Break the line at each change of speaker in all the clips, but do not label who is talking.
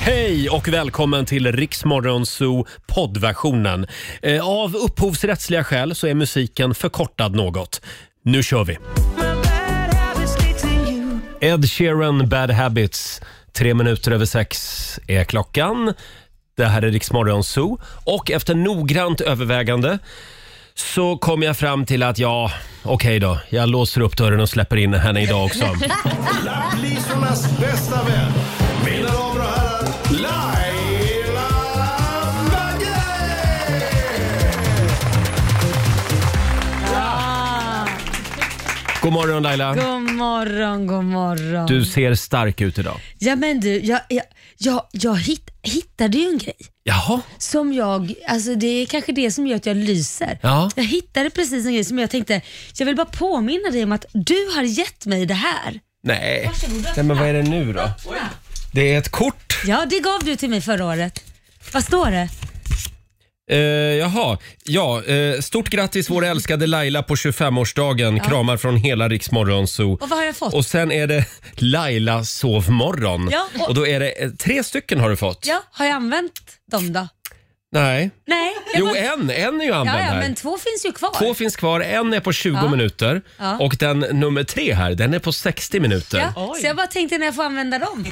Hej och välkommen till Riksmorgon Zoo poddversionen. Eh, Av upphovsrättsliga skäl så är musiken förkortad något. Nu kör vi! Ed Sheeran, Bad Habits. Tre minuter över sex är klockan. Det här är Riksmorgon Zoo och efter noggrant övervägande så kom jag fram till att ja, okej då. Jag låser upp dörren och släpper in henne idag också.
Lapplisornas bästa vän. Mina damer och herrar, Laila Bagge!
God morgon Laila.
God morgon, god morgon.
Du ser stark ut idag.
Ja men du, jag, jag, jag, jag hitt, hittade ju en grej
Jaha.
som jag, alltså det är kanske det som gör att jag lyser.
Ja.
Jag hittade precis en grej som jag tänkte, jag vill bara påminna dig om att du har gett mig det här.
Nej. Nej, men vad är det nu då? Det är ett kort.
Ja, det gav du till mig förra året. Vad står det?
Eh, jaha. Ja, eh, stort grattis vår älskade Laila på 25-årsdagen. Kramar från hela Riksmorgonzoo.
Och vad har jag fått?
Och sen är det Laila sovmorgon.
Ja,
och...
och-
då är det eh, tre stycken har du fått.
Ja, har jag använt dem då?
Nej.
Nej. jag
Jo,
bara-
en. En är ju använd
ja, ja,
här.
men två finns ju kvar.
Två finns kvar, en är på 20
Ja.
minuter
Ja.
och den nummer tre här, den är på 60 minuter.
ja, så jag bara tänkte när jag får använda dem.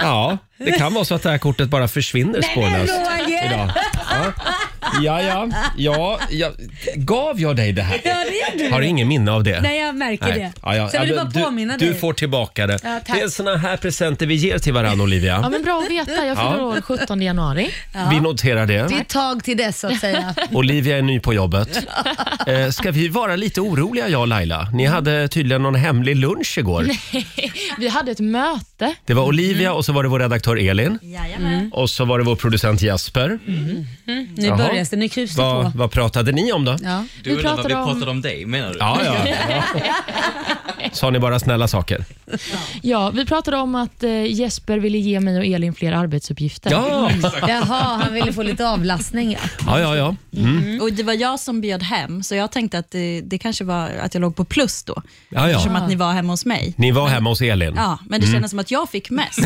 Ja, det kan vara så att det här kortet bara försvinner spårlöst
Roger.
Alltså, idag. Ja. Ja, ja, ja, ja. Gav jag dig det här?
Ja, det gör du.
Har ingen minne av det.
Nej, jag märker det.
Ja, ja.
Så jag vill
Ja,
bara
du-
påminna
du,
dig.
du får tillbaka det.
Ja, tack.
det är såna här presenter vi ger till varandra, Olivia.
Ja, men bra att veta. Jag fyller
Ja.
år 17 januari.
Vi noterar det.
Det är ett tag till dess så att säga.
Olivia är ny på jobbet. Eh, ska vi vara lite oroliga, jag och Laila? Ni
Mm.
hade tydligen någon hemlig lunch igår.
Vi hade ett möte.
Det var Olivia och så var det vår redaktör Elin
Mm. Jajamän. Mm.
och så var det vår producent Jesper.
Nu
Jaha.
börjar det, nu kryps det
Vad-
på.
vad pratade ni om då?
Ja.
Du
Vi
undrar vad
pratade
vi
om-
pratade om dig menar du?
Ja, ja. Sa ni bara snälla saker?
Ja, vi pratade om att eh, Jesper ville ge mig och Elin fler arbetsuppgifter.
Ja,
Jaha, han ville få lite avlastning ja.
ja, ja. ja. Mm.
Och Det var jag som bjöd hem, så jag tänkte att det, det kanske var att jag låg på plus då,
ja,
eftersom
ja.
att ni var hemma hos mig.
Ni var hemma hos Elin.
Ja, men
Mm.
det kändes som att jag fick mest.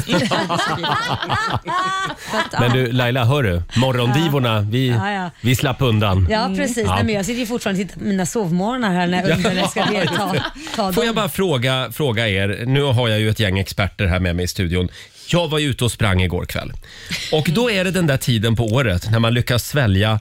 Så att,
Men
ja.
du Laila, hör du? Morgondivorna, vi,
Ah. Ja, ja.
vi slapp undan.
Ja precis, Nej, men jag sitter ju fortfarande och tittar på mina sovmorgnar här när jag undrar när jag ska delta. Ta
Får jag
dem.
bara fråga, fråga er, nu har jag ju ett gäng experter här med mig i studion. Jag var ju ute och sprang igår kväll. Och då är det den där tiden på året när man lyckas svälja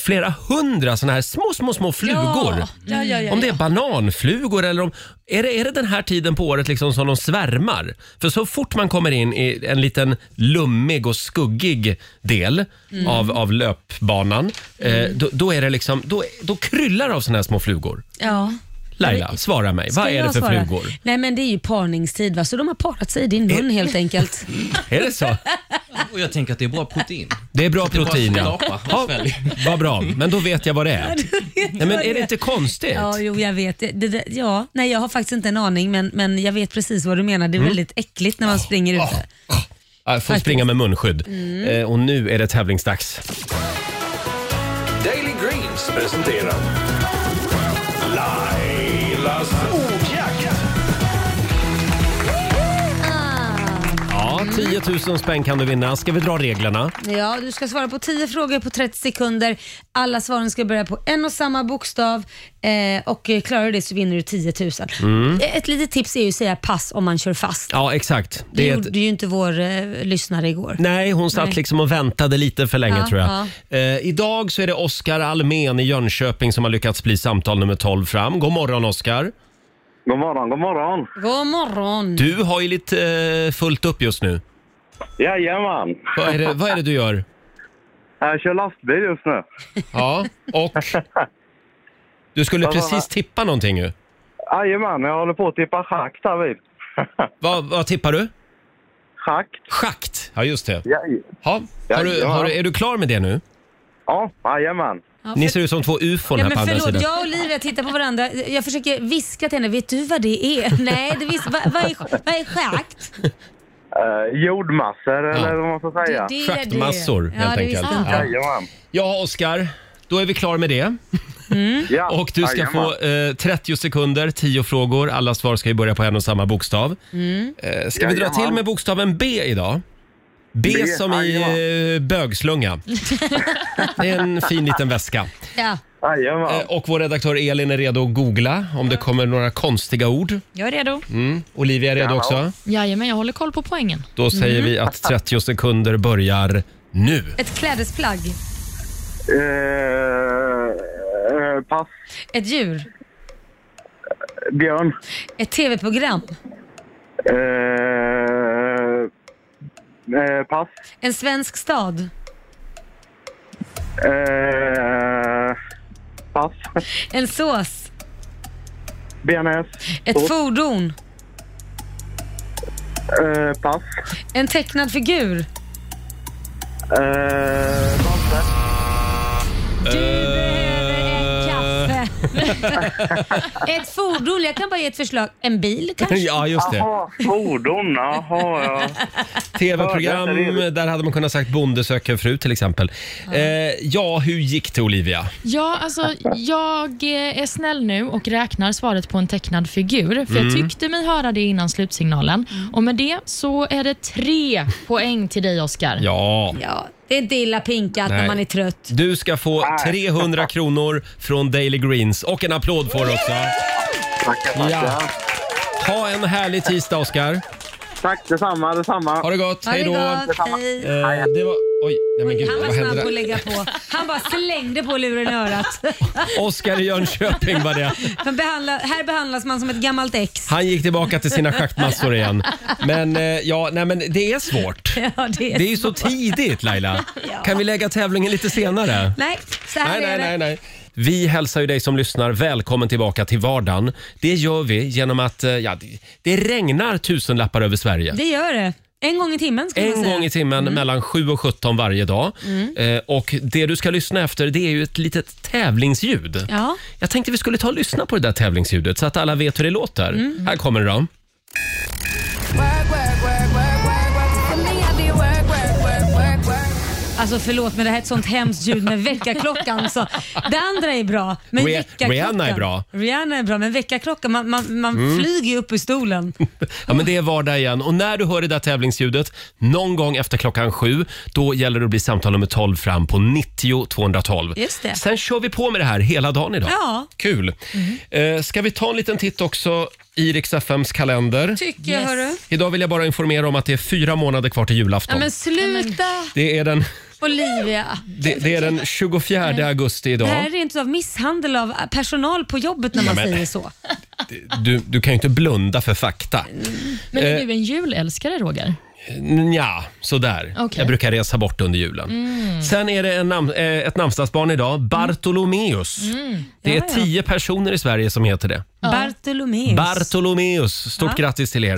flera hundra såna här små, små, små flugor.
Ja, ja, ja,
Om det
ja.
är bananflugor eller om... Är det, är det den här tiden på året liksom som de svärmar? För så fort man kommer in i en liten lummig och skuggig del
Mm.
av, av löpbanan, eh, då, då är det liksom... Då, då kryllar det av såna här små flugor.
Ja.
Laila, svara mig. Vad
Ska
är det
jag
för
svara?
flugor?
Nej men det är ju parningstid va, så de har parat sig i din mun helt enkelt.
Är det så?
Och jag tänker att det är bra protein.
Det är bra
Det är bara
protein, ja.
skrapa.
ja. Vad bra, men då vet jag vad det är. Nej, men är det inte konstigt?
Ja, jo jag vet. Det, det, det- ja. Nej jag har faktiskt inte en aning men, men jag vet precis vad du menar.
Mm.
Det är väldigt äckligt när man springer
Ah.
ute.
Jag får springa med munskydd.
Mm.
Eh, Och nu är det tävlingsdags.
Daily Greens presenterar Lailas ordjakt.
Ja, 10 000 spänn kan du vinna. Ska vi dra reglerna?
Ja, du ska svara på 10 frågor på 30 sekunder. Alla svaren ska börja på en och samma bokstav eh, och eh, klarar du det så vinner du 10 000. Ett litet tips är ju att säga pass om man kör fast.
Mm. Ja, exakt.
Det
Det är ett...
gjorde ju inte vår eh, lyssnare igår.
Nej, hon satt
Nej.
liksom och väntade lite för länge
Ja,
tror jag. Eh, idag så är det Oskar Almen i Jönköping som har lyckats bli samtal nummer 12 fram. God morgon Oskar.
God morgon, god morgon.
God morgon!
Du har ju lite eh, fullt upp just nu.
Jajamän.
Vad är det, vad är det du gör?
Jag kör lastbil just nu.
Ja, och... Du skulle
Vad var
precis
det?
tippa någonting ju.
Jajamän, jag håller på att tippa schakt här vid.
Vad, vad tippar du?
Schakt?
Schakt. Ja, just det.
Ja,
Ha. Har du, har du, är du klar med det nu?
ja, jajamän.
Ja,
Ni
för-
ser ut som två ufon
Ja,
här på
men
andra sidan.
förlåt, jag och Olivia tittar på varandra. Jag försöker viska till henne. Vet du vad det är? Nej, det vis- vad, vad, är, vad är schakt?
Eh, jordmassor eller vad man ska säga.
Det är det.
Schaktmassor,
Ja,
helt
det
enkelt.
visste inte jag.
Jajamän.
Ja, Oskar. Då är vi klar med det.
Ja,
Och du ska
jajamän.
få eh, 30 sekunder, 10 frågor. Alla svar ska ju börja på en och samma bokstav. Eh, ska vi dra
Jajamän.
till med bokstaven B idag? B,
B,
som i eh, bögslunga. Det är en fin liten väska.
Ja.
Eh, Och vår redaktör Elin är redo att googla om det kommer några konstiga ord.
Jag är redo.
Mm. Olivia är redo
Ja.
också.
Jajamän, jag håller koll på poängen.
Då säger vi att 30 sekunder börjar nu.
Ett klädesplagg.
Eh, pass.
Ett djur.
Björn.
Ett tv-program.
Eh, eh, pass.
En svensk stad.
Eh, pass.
En sås.
BNS.
Ett fordon.
Eh, pass.
En tecknad figur.
Eh, Monster.
Du
behöver Kaffe. ett fordon. Jag kan bara ge ett förslag. En bil kanske?
Ja, just det.
Jaha, fordon. Jaha, ja.
Tv-program,
Ja, det
där hade man kunnat sagt Bonde söker fru till exempel. Eh, ja, hur gick det Olivia?
Ja, alltså jag eh, är snäll nu och räknar svaret på en tecknad figur. För jag
Mm.
tyckte mig höra det innan slutsignalen. Och med det så är det tre poäng till dig Oscar.
Ja.
Ja, det är inte illa pinkat
Nej.
när man är trött.
Du ska få 300 kronor från Daily Greens och en applåd får du också.
Tackar, tackar.
Ha en härlig tisdag Oscar.
Tack detsamma, detsamma.
Ha det gott,
Ha det
hej då.
gott,
Detsamma.
hej.
Eh, det var... Oj, nej men gud,
Han
vad
var
hände
snabb på att
där?
lägga på. Han bara slängde på luren i örat.
Oscar i Jönköping var det.
Man behandlar, här behandlas man som ett gammalt ex.
Han gick tillbaka till sina schaktmassor igen. Men eh, ja, nej men det är svårt.
Ja, det är,
Det är ju så tidigt Laila. Kan vi lägga tävlingen lite senare?
Nej, så här
Nej, nej,
är
nej,
det.
nej. Vi hälsar ju dig som lyssnar välkommen tillbaka till vardagen. Det gör vi genom att eh, ja, det- det regnar tusenlappar över Sverige.
Det gör det. En gång i timmen skulle man
En
säga.
gång i timmen mellan 7 och 17 varje dag.
Mm.
Eh, och Det du ska lyssna efter det är ju ett litet tävlingsljud.
Ja.
Jag tänkte vi skulle ta och lyssna på det där tävlingsljudet så att alla vet hur det låter.
Mm.
Här kommer det då.
Alltså förlåt men det här är ett sånt hemskt ljud med väckarklockan. Så. Det andra är bra. Men
Rih-
väckarklockan-
Rihanna är bra.
Rihanna är bra men väckarklockan, man, man, man
Mm.
flyger ju upp ur stolen.
Ja, men det är vardag igen. Och när du hör det där tävlingsljudet någon gång efter klockan sju, då gäller det att bli samtal nummer 12 fram på 90 212.
Just det.
Sen kör vi på med det här hela dagen idag.
Ja.
Kul.
Mm.
Eh, ska vi ta en liten titt också i Rix FMs kalender?
Tycker jag, Yes. hörru.
Idag vill jag bara informera om att det är fyra månader kvar till julafton.
Ja, men sluta
Det är den,
Olivia.
det, det är den 24 augusti
Det
idag.
här är inte av misshandel av personal på jobbet när man
Ja, men-
säger så.
Du, du kan ju inte blunda för fakta.
Men är
Eh.
du en julälskare Roger?
Ja, sådär.
Okej.
Jag brukar resa bort under julen.
Mm.
Sen är det en nam- eh, ett namnsdagsbarn idag, Bartolomeus. Det är
Ja, ja.
tio personer i Sverige som heter det.
Bartolomeus.
Bartolomeus, stort
Ja.
grattis till er.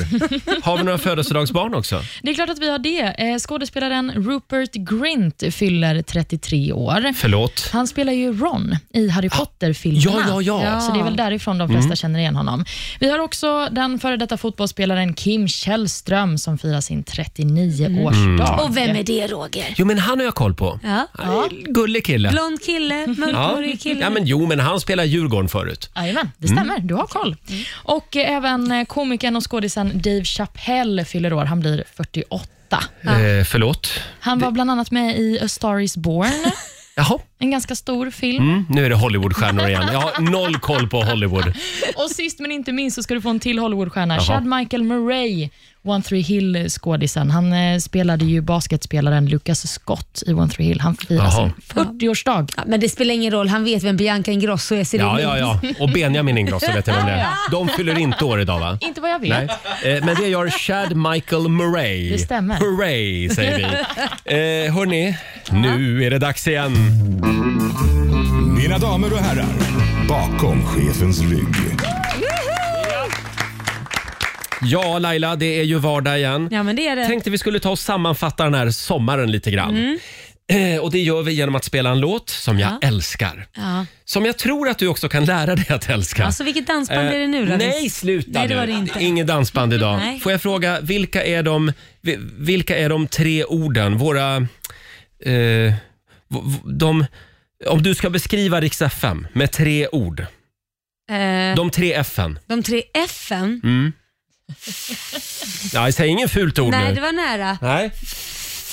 Har vi några födelsedagsbarn också?
Det är klart att vi har det. Eh, Skådespelaren Rupert Grint fyller 33 år.
Förlåt.
Han spelar ju Ron i Harry Potter-filmerna.
Ah, Ja, ja, ja.
Så det är väl därifrån de flesta
Mm.
känner igen honom. Vi har också den före detta fotbollsspelaren Kim Källström som firar sin 39-årsdag.
Mm.
Och vem är det Roger?
Jo, men han har jag koll på.
Ja.
Ja. Gullig kille.
Blond kille, mörkhårig kille.
ja, men jo, men han spelar Djurgården förut.
Jajamän, det
Mm.
stämmer. Du har koll. Och eh, även eh, komikern och skådisen Dave Chappelle fyller år. Han blir 48.
Eh, förlåt.
Han var bland annat med i A Star Is Born.
Jaha.
En ganska stor film.
Mm, nu är det Hollywoodstjärnor igen. Jag har noll koll på Hollywood.
Och sist men inte minst så ska du få en till Hollywoodstjärna.
Jaha.
Chad Michael Murray, One Three Hill-skådisen. Han eh, spelade ju basketspelaren Lucas Scott i One Three Hill. Han firar
Jaha.
sin 40-årsdag.
Ja, men det spelar ingen roll, han vet vem Bianca Ingrosso är. så det är
Ja,
lugnt.
ja, ja. Och Benjamin Ingrosso vet jag vem det är.
Ja,
De fyller inte år idag, va?
Inte vad jag vet.
Nej. Eh, Men det gör Chad Michael Murray.
Det stämmer.
Hurray, säger vi. Eh, hörni, nu är det dags igen.
Mina damer och herrar, bakom chefens rygg.
Ja, Laila, det är ju vardag igen.
Ja, men det är det.
Tänkte vi skulle ta och sammanfatta den här sommaren lite grann. Eh, Och det gör vi genom att spela en låt som jag älskar.
Ja.
Som jag tror att du också kan lära dig att älska.
Alltså vilket dansband är det nu då?
Eh, Nej,
visst?
sluta
Nej, det
nu.
var det inte.
Inget dansband idag.
Nej.
Får jag fråga, vilka är de, vi- vilka är de tre orden, våra... Eh, v- v- de, om du ska beskriva Rix FM med tre ord.
Eh, de...
De tre F'n.
tre F'en.
Mm. Nej, säg inget fult ord
Nej,
nu.
det var nära.
Nej.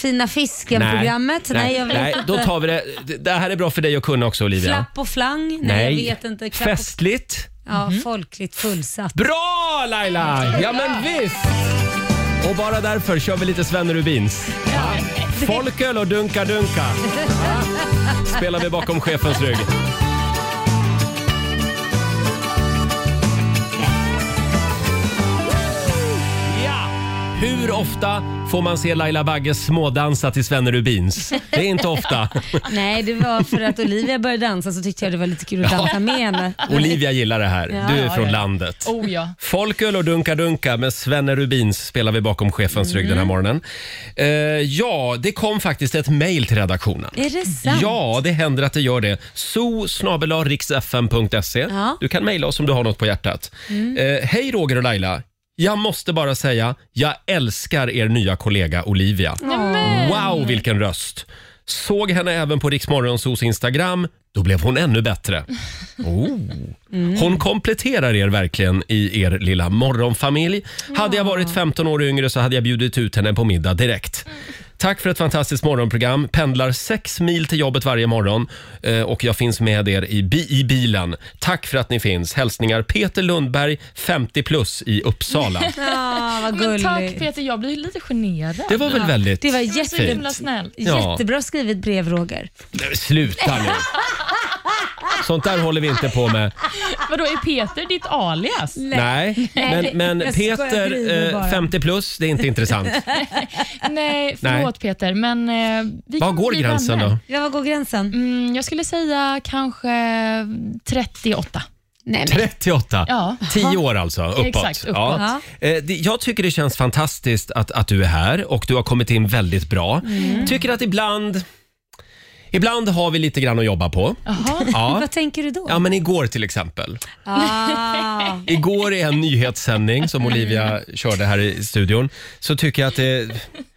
Fina fisken-programmet. Nej, jag vet
nej,
inte.
då tar vi det. Det här är bra för dig att kunna också Olivia.
Flapp och flang? Nej, jag vet inte. Klapp och...
Festligt.
Ja,
Mhm.
folkligt fullsatt.
Bra Laila! Ja men visst! Och bara därför kör vi lite Sven Rubins. Folköl och dunka-dunka. Spelar vi bakom chefens rygg. Ja! Hur ofta får man se Laila Bagge smådansa till Sven Rubins? Det är inte ofta.
Nej, det var för att Olivia började dansa så tyckte jag det var lite kul att dansa med henne.
Olivia gillar det här. Du är
ja,
från
ja.
landet.
Oh ja.
Folköl och dunka-dunka med Svenne Rubins spelar vi bakom chefens rygg den här morgonen. Eh, ja, det kom faktiskt ett mejl till redaktionen.
Är det sant?
Ja, det händer att det gör det. so
Ja.
Du kan mejla oss om du har något på hjärtat. Eh, hej Roger och Laila. Jag måste bara säga, jag älskar er nya kollega Olivia. Wow, vilken röst! Såg henne även på Riksmorgonsos Instagram. Då blev hon ännu bättre. Oh. Hon kompletterar er verkligen i er lilla morgonfamilj. Hade jag varit 15 år yngre så hade jag bjudit ut henne på middag direkt. Tack för ett fantastiskt morgonprogram. Pendlar sex mil till jobbet varje morgon eh, och jag finns med er i, bi- i bilen. Tack för att ni finns. Hälsningar Peter Lundberg, 50 plus i Uppsala.
Ja, vad
Men tack
gulligt.
Peter, jag blir lite generad.
Det var väl väldigt...
Det var
Det var så himla
jättefint.
snällt.
Ja.
Jättebra skrivet brev, Roger.
Nej, men Sluta nu. Sånt där håller vi inte på med.
Vadå, är Peter ditt alias?
Nej, men, men
Jag skojar,
Peter
driver
eh,
bara.
50 plus, det är inte intressant.
Nej, förlåt Peter, men... eh, Vi
Var
kan
går
bli
gränsen
vänner.
då?
Ja, var går gränsen?
Mm, jag skulle säga kanske 38.
Nej, men.
38.
Ja.
10 år alltså, uppåt.
Exakt, uppåt.
Ja. Eh, det- Jag tycker det känns fantastiskt att, att du är här och du har kommit in väldigt bra.
Mm.
Tycker att ibland, ibland har vi lite grann att jobba på.
Jaha.
Ja.
Vad tänker du då?
ja, men igår till exempel.
Ah.
Igår i en nyhetssändning som Olivia körde här i studion så tycker jag att det...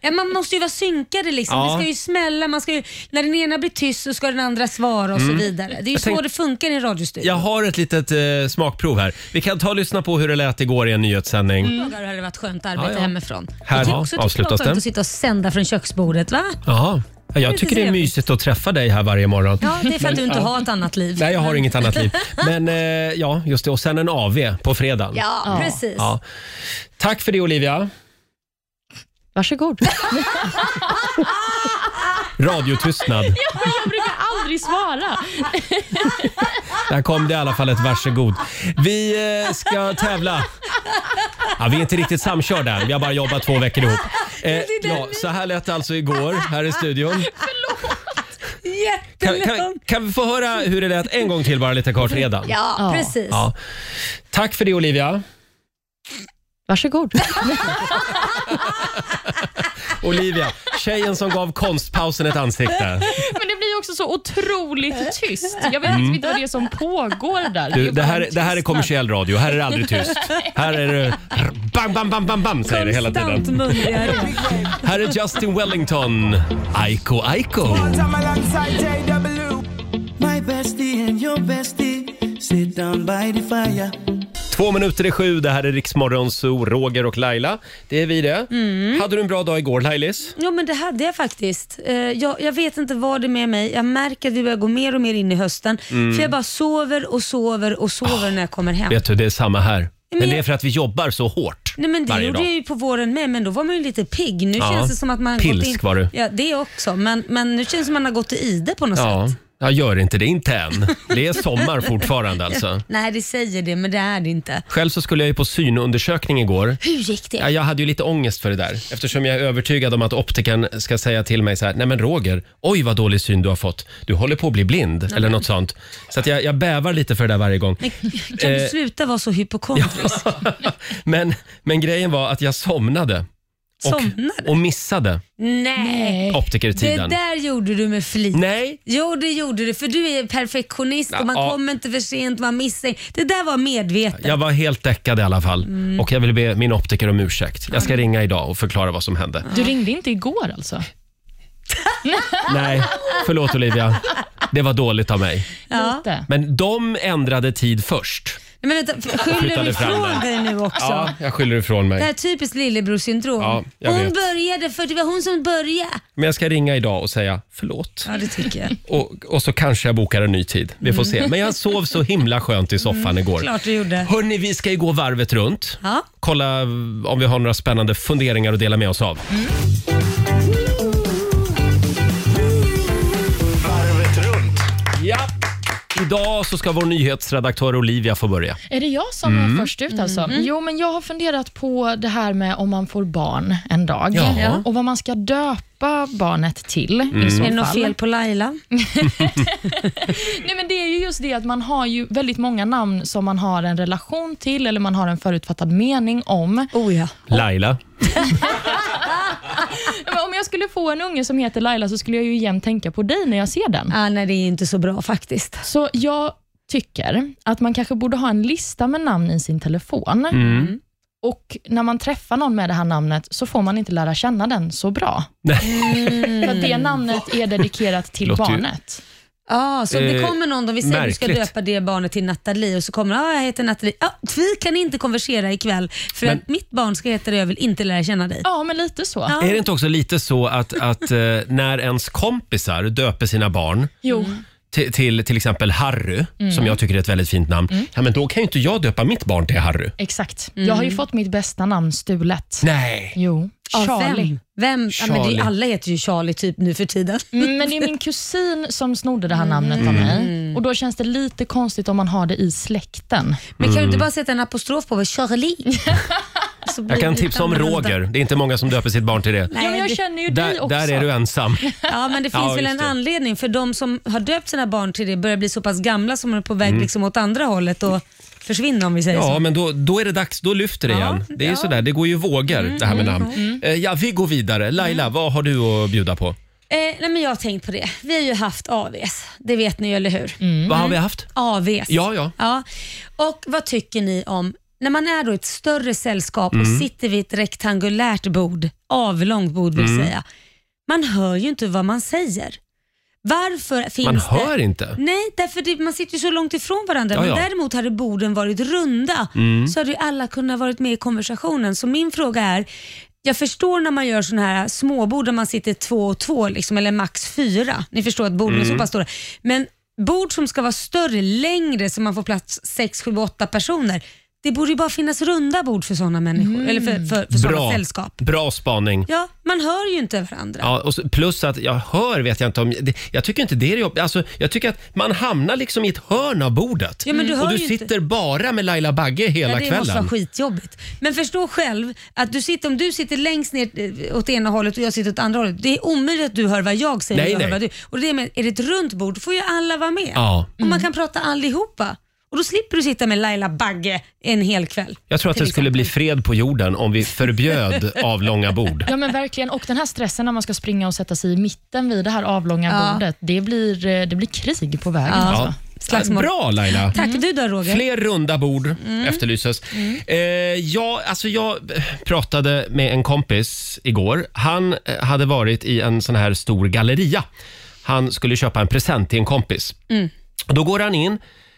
Ja, man måste ju vara synkade liksom.
Ja.
Det ska ju smälla, man ska ju, när den ena blir tyst så ska den andra svara och så vidare. Det är ju så
Mm. tänk-
det funkar i en radiostudio.
Jag har ett litet eh, smakprov här. Vi kan ta och lyssna på hur det lät igår i en nyhetssändning.
dagar hade det varit skönt att arbeta
Ja, ja.
hemifrån.
Här
jag tycker också att det skulle
avslutas
vara skönt
den.
att sitta och sända från köksbordet. Va?
Jaha. Ja, Jag
Lite
tycker det är
trevligt.
mysigt att träffa dig här varje morgon.
Ja, det är för att du inte har ett annat liv.
Nej, jag har inget annat liv. Men eh, ja, just det. Och sen en AV på fredagen.
Ja, precis.
Ja. Tack för det Olivia.
Varsågod.
Radiotystnad.
Jag brukar aldrig svara.
Där kom det i alla fall ett varsågod. Vi eh, ska tävla. Ja, vi är inte riktigt samkörda än. Vi har bara jobbat två veckor ihop. Eh, ja, så här lät det alltså igår här i studion. Kan,
Jättelätt.
kan, kan vi få höra hur det lät en gång till bara lite kort redan?
Ja,
Ja.
precis.
Ja. Tack för det Olivia.
Varsågod.
Olivia, tjejen som gav konstpausen ett ansikte.
Men det blir ju också så otroligt tyst. Jag vet liksom inte vad det är som pågår där.
Mm. Du, det, här,
bara en
det här är
tystnad.
kommersiell radio, här är det aldrig tyst. Här är det bam, bam, bam, bam, bam säger det hela
Konstant
tiden.
mundiga rop.
Här är Justin Wellington, Aiko Aiko.
My bestie and your bestie sit down by the fire.
Två minuter i sju, det här är Riksmorgon Zoo, Roger och Laila. Det är vi det.
Mm.
Hade du en bra dag igår Lailis?
Ja, men det hade jag faktiskt. Eh, jag, jag vet inte vad det är med mig. Jag märker att vi börjar gå mer och mer in i hösten.
Mm.
För jag bara sover och sover och sover när jag kommer hem.
Vet du, det är samma här. Men
Men
det är
jag-
för att vi jobbar så hårt
Nej, men det
varje
gjorde
dag.
jag ju på våren med, men då var man ju lite pigg. Nu
Ja.
känns det som att man...
Pilsk
gått in...
var du.
Ja, det också. Men, men nu känns det som att man har gått i ide på något
Ja,
sätt.
jag gör inte det. Inte än. Det är sommar fortfarande alltså.
Nej, det säger det, men det är det inte.
Själv så skulle jag ju på synundersökning igår.
Hur gick det?
Ja, jag hade ju lite ångest för det där eftersom jag är övertygad om att optiken ska säga till mig så här, nej men Roger, oj vad dålig syn du har fått. Du håller på att bli blind eller något sånt. Så att jag, jag bävar lite för det där varje gång.
Kan
Eh,
du sluta vara så hypokondrisk?
men, men grejen var att jag somnade och,
Somnade?
och missade
Nej. Det
optikertiden.
där gjorde du med flit.
Nej,
Jo, det gjorde du, för du är perfektionist och man
Ja.
kommer inte för sent, man missar. Det där var medvetet.
jag var helt däckad i alla fall
Mm.
och jag vill be min optiker om ursäkt. Jag ska ringa idag och förklara vad som hände.
Du ringde inte igår alltså?
Nej, förlåt Olivia. Det var dåligt av mig.
Ja.
Inte.
Men de ändrade tid först.
Men vänta, skyller
Flyttade
du
fram den.
ifrån dig nu också?
Ja, jag skyller ifrån mig.
Det här är typiskt lillebrorsyndrom.
Ja, jag
hon
vet.
började för det var hon som började.
Men jag ska ringa idag och säga förlåt.
Ja, det tycker jag.
Och, och så kanske jag bokar en ny tid. Vi får se. Men jag sov så himla skönt i soffan igår.
Mm. Klart du gjorde.
Hörni, vi ska ju gå varvet runt.
Ja.
Kolla om vi har några spännande funderingar att dela med oss av.
Mm.
Ja. Idag så ska vår nyhetsredaktör Olivia få börja.
Är det jag som
Mm.
var först ut alltså? Jo, men jag har funderat på det här med om man får barn en dag
Ja. Ja.
och vad man ska döpa barnet till
Mm.
i så
Är det
fall.
något fel på Laila?
Nej, men det är ju just det att man har ju väldigt många namn som man har en relation till eller man har en förutfattad mening om.
Oh ja.
Laila.
Men Om jag skulle få en unge som heter Laila så skulle jag ju igen tänka på dig när jag ser den.
Ah, nej, det är inte så bra faktiskt.
Så jag tycker att man kanske borde ha en lista med namn i sin telefon.
Mm.
Och När man träffar någon med det här namnet så får man inte lära känna den så bra.
Mm.
För att det namnet är dedikerat till
Låter ju-
barnet.
Ah, så om det
Eh,
kommer någon, om vi säger att du ska
märkligt.
döpa det barnet till Nathalie och så kommer ah, jag heter Nathalie. Ah, vi kan inte konversera ikväll för
Men-
att mitt barn ska heta det jag vill inte lära känna dig.
Ja, men lite så.
Ja.
Ah, Är det inte också lite så att, att eh, när ens kompisar döper sina barn
Jo.
Mm.
till, till till exempel Harry, som jag tycker är ett väldigt fint namn.
Mm.
Ja, men då kan ju inte jag döpa mitt barn till Harry.
Exakt. Jag har ju fått mitt bästa namn stulet.
Nej.
Jo,
Mm. Av
Charlie.
Vem? vem? Ja, men det,
Charlie.
är- alla heter ju Charlie typ nu för tiden.
Mm, Men det är min kusin som snodde det här
Mm.
namnet av mig. Och Då känns det lite konstigt om man har det i släkten.
Men kan du inte bara sätta en apostrof på Charlie? Så blir
Jag kan
det lite
tipsa om
annorlunda.
Roger. Det är inte många som döper sitt barn till det.
Ja, men
Nej,
jag
det-
känner ju dig
Där,
också.
där är du ensam.
Ja, men det finns
Ja,
väl
just
en
det.
anledning för de som har döpt sina barn till det börjar bli så pass gamla som de är på väg liksom åt andra hållet och försvinner om vi säger
Mm. Ja,
så.
men då, då är det dags. Då lyfter det
Ja,
igen. Det är ju
ja. Mm,
sådär, det går ju i vågor det här med namn. Eh, Ja, vi går vidare. Laila, vad har du att bjuda på?
Eh, nej, men jag har tänkt på det. Vi har ju haft AVs, det vet ni ju eller hur?
Vad har vi haft?
AVs.
Ja, ja.
Ja. Och vad tycker ni om när man är då ett större sällskap
Mm.
och sitter vid ett rektangulärt bord, avlångt bord vill
Mm.
säga. Man hör ju inte vad man säger. Varför finns
Man
det...
hör inte.
Nej, därför det, man sitter ju så långt ifrån varandra.
Ja, ja. Mm.
Men däremot hade borden varit runda så hade ju alla kunnat varit med i konversationen. Så min fråga är, jag förstår när man gör sådana här småbord där man sitter två och två liksom, eller max fyra. Ni förstår att borden
Mm.
är så pass stora. Men bord som ska vara större, längre, så man får plats sex, sju, åtta personer. Det borde ju bara finnas runda bord för sådana människor, eller för, för, för sådana
Mm. Bra,
sällskap.
bra spaning.
Ja, man hör ju inte varandra.
Ja, och så- plus att jag hör vet jag inte om... det- Jag tycker inte det är jobbigt. Alltså, jag tycker att man hamnar liksom i ett hörn av bordet.
Ja, men du hör
och du
ju inte.
sitter bara med Laila Bagge hela
Ja, det måste
kvällen.
vara skitjobbigt. Men förstå själv att du sitter, om du sitter längst ner eh, åt ena hållet och jag sitter åt andra hållet. Det är omöjligt att du hör vad jag säger
Nej,
och jag hör
nej.
vad du... Och det med, är det ett runt bord får ju alla vara med.
Ja.
Och man kan prata allihopa. Och då slipper du sitta med Laila Bagge en hel kväll.
Jag tror att
till
det skulle bli
exempel.
fred på jorden om vi förbjöd avlånga bord.
Ja men verkligen, och den här stressen när man ska springa och sätta sig i mitten vid det här avlånga bordet, det blir, eh, det blir krig på vägen.
Ja.
Alltså.
Slagsmål.
Bra Laila!
Tack Mm. du då Roger.
Mm. Fler runda bord efterlyses. Eh, ja, alltså jag pratade med en kompis igår. Han eh, hade varit i en sån här stor galleria. Han skulle köpa en present till en kompis. Och Då går han in.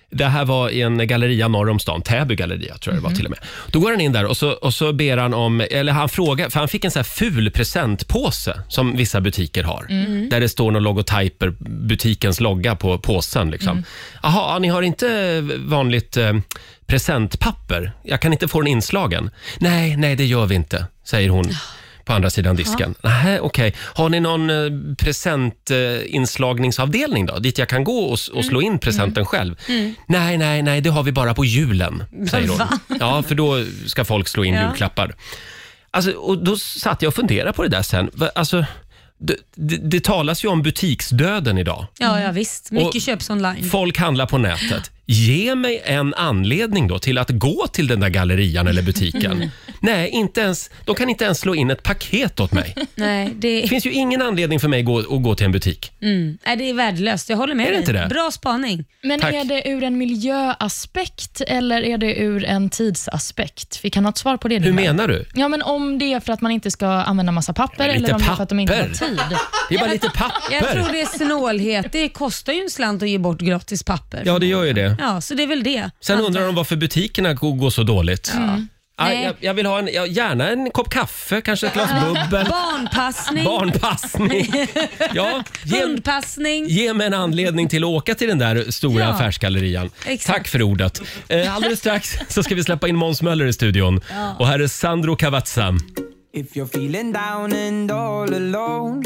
Det här var i en galleria norr om stan, Täby galleria tror jag det var till och med. Då går han in där och så, och så ber han om, eller han frågar, för han fick en sån här ful presentpåse som vissa butiker har. Där det står någon logotyper, butikens logga på påsen. Liksom. Jaha, ja, ni har inte vanligt eh, presentpapper? Jag kan inte få den inslagen. Nej, nej det gör vi inte, säger hon. På andra sidan disken. Nähä, okej. Har ni någon eh, presentinslagningsavdelning då? Dit jag kan gå och, s- och slå in presenten själv? Nej, nej, nej, det har vi bara på julen, säger hon. Ja, för då ska folk slå in julklappar. Alltså, och då satt jag och funderade på det där sen. Va- Alltså, det, det, det talas ju om butiksdöden idag.
Ja, ja visst. Mycket
Och-
köps online.
Folk handlar på nätet. Ge mig en anledning då till att gå till den där gallerian eller butiken. Nej, inte ens, de kan inte ens slå in ett paket åt mig.
Nej,
Det
det,
finns ju ingen anledning för mig att gå, att gå till en butik.
mm, nej, det är värdelöst. Jag håller med
Är det
dig.
inte det?
Bra spaning.
Men
Tack.
är det ur en miljöaspekt eller är det ur en tidsaspekt? Vi kan ha ett svar på det
Hur
Mm.
Linda.
menar du?
Ja, men om det är för att man inte ska använda massa
lite
papper eller om det är för att de inte har
papper.
tid.
Det är bara lite
Jag tror
papper.
det är snålhet. Det kostar ju en slant att ge bort gratis papper.
Ja, det gör ju det. pengar.
Ja, så det är väl det.
Sen undrar de varför butikerna går, går så dåligt. Ah,
Mm. Nej.
jag, jag vill ha en, ja, gärna en kopp kaffe, kanske ett glas bubbel.
Barnpassning,
Barnpassning. Ja, ge,
hundpassning.
ge mig en anledning till att åka till den där stora
Ja.
affärsgallerian.
Exakt.
Tack för ordet. Eh, alldeles strax så ska vi släppa in Måns Möller i studion. Och här är Sandro Cavazza.
If you're feeling down and all alone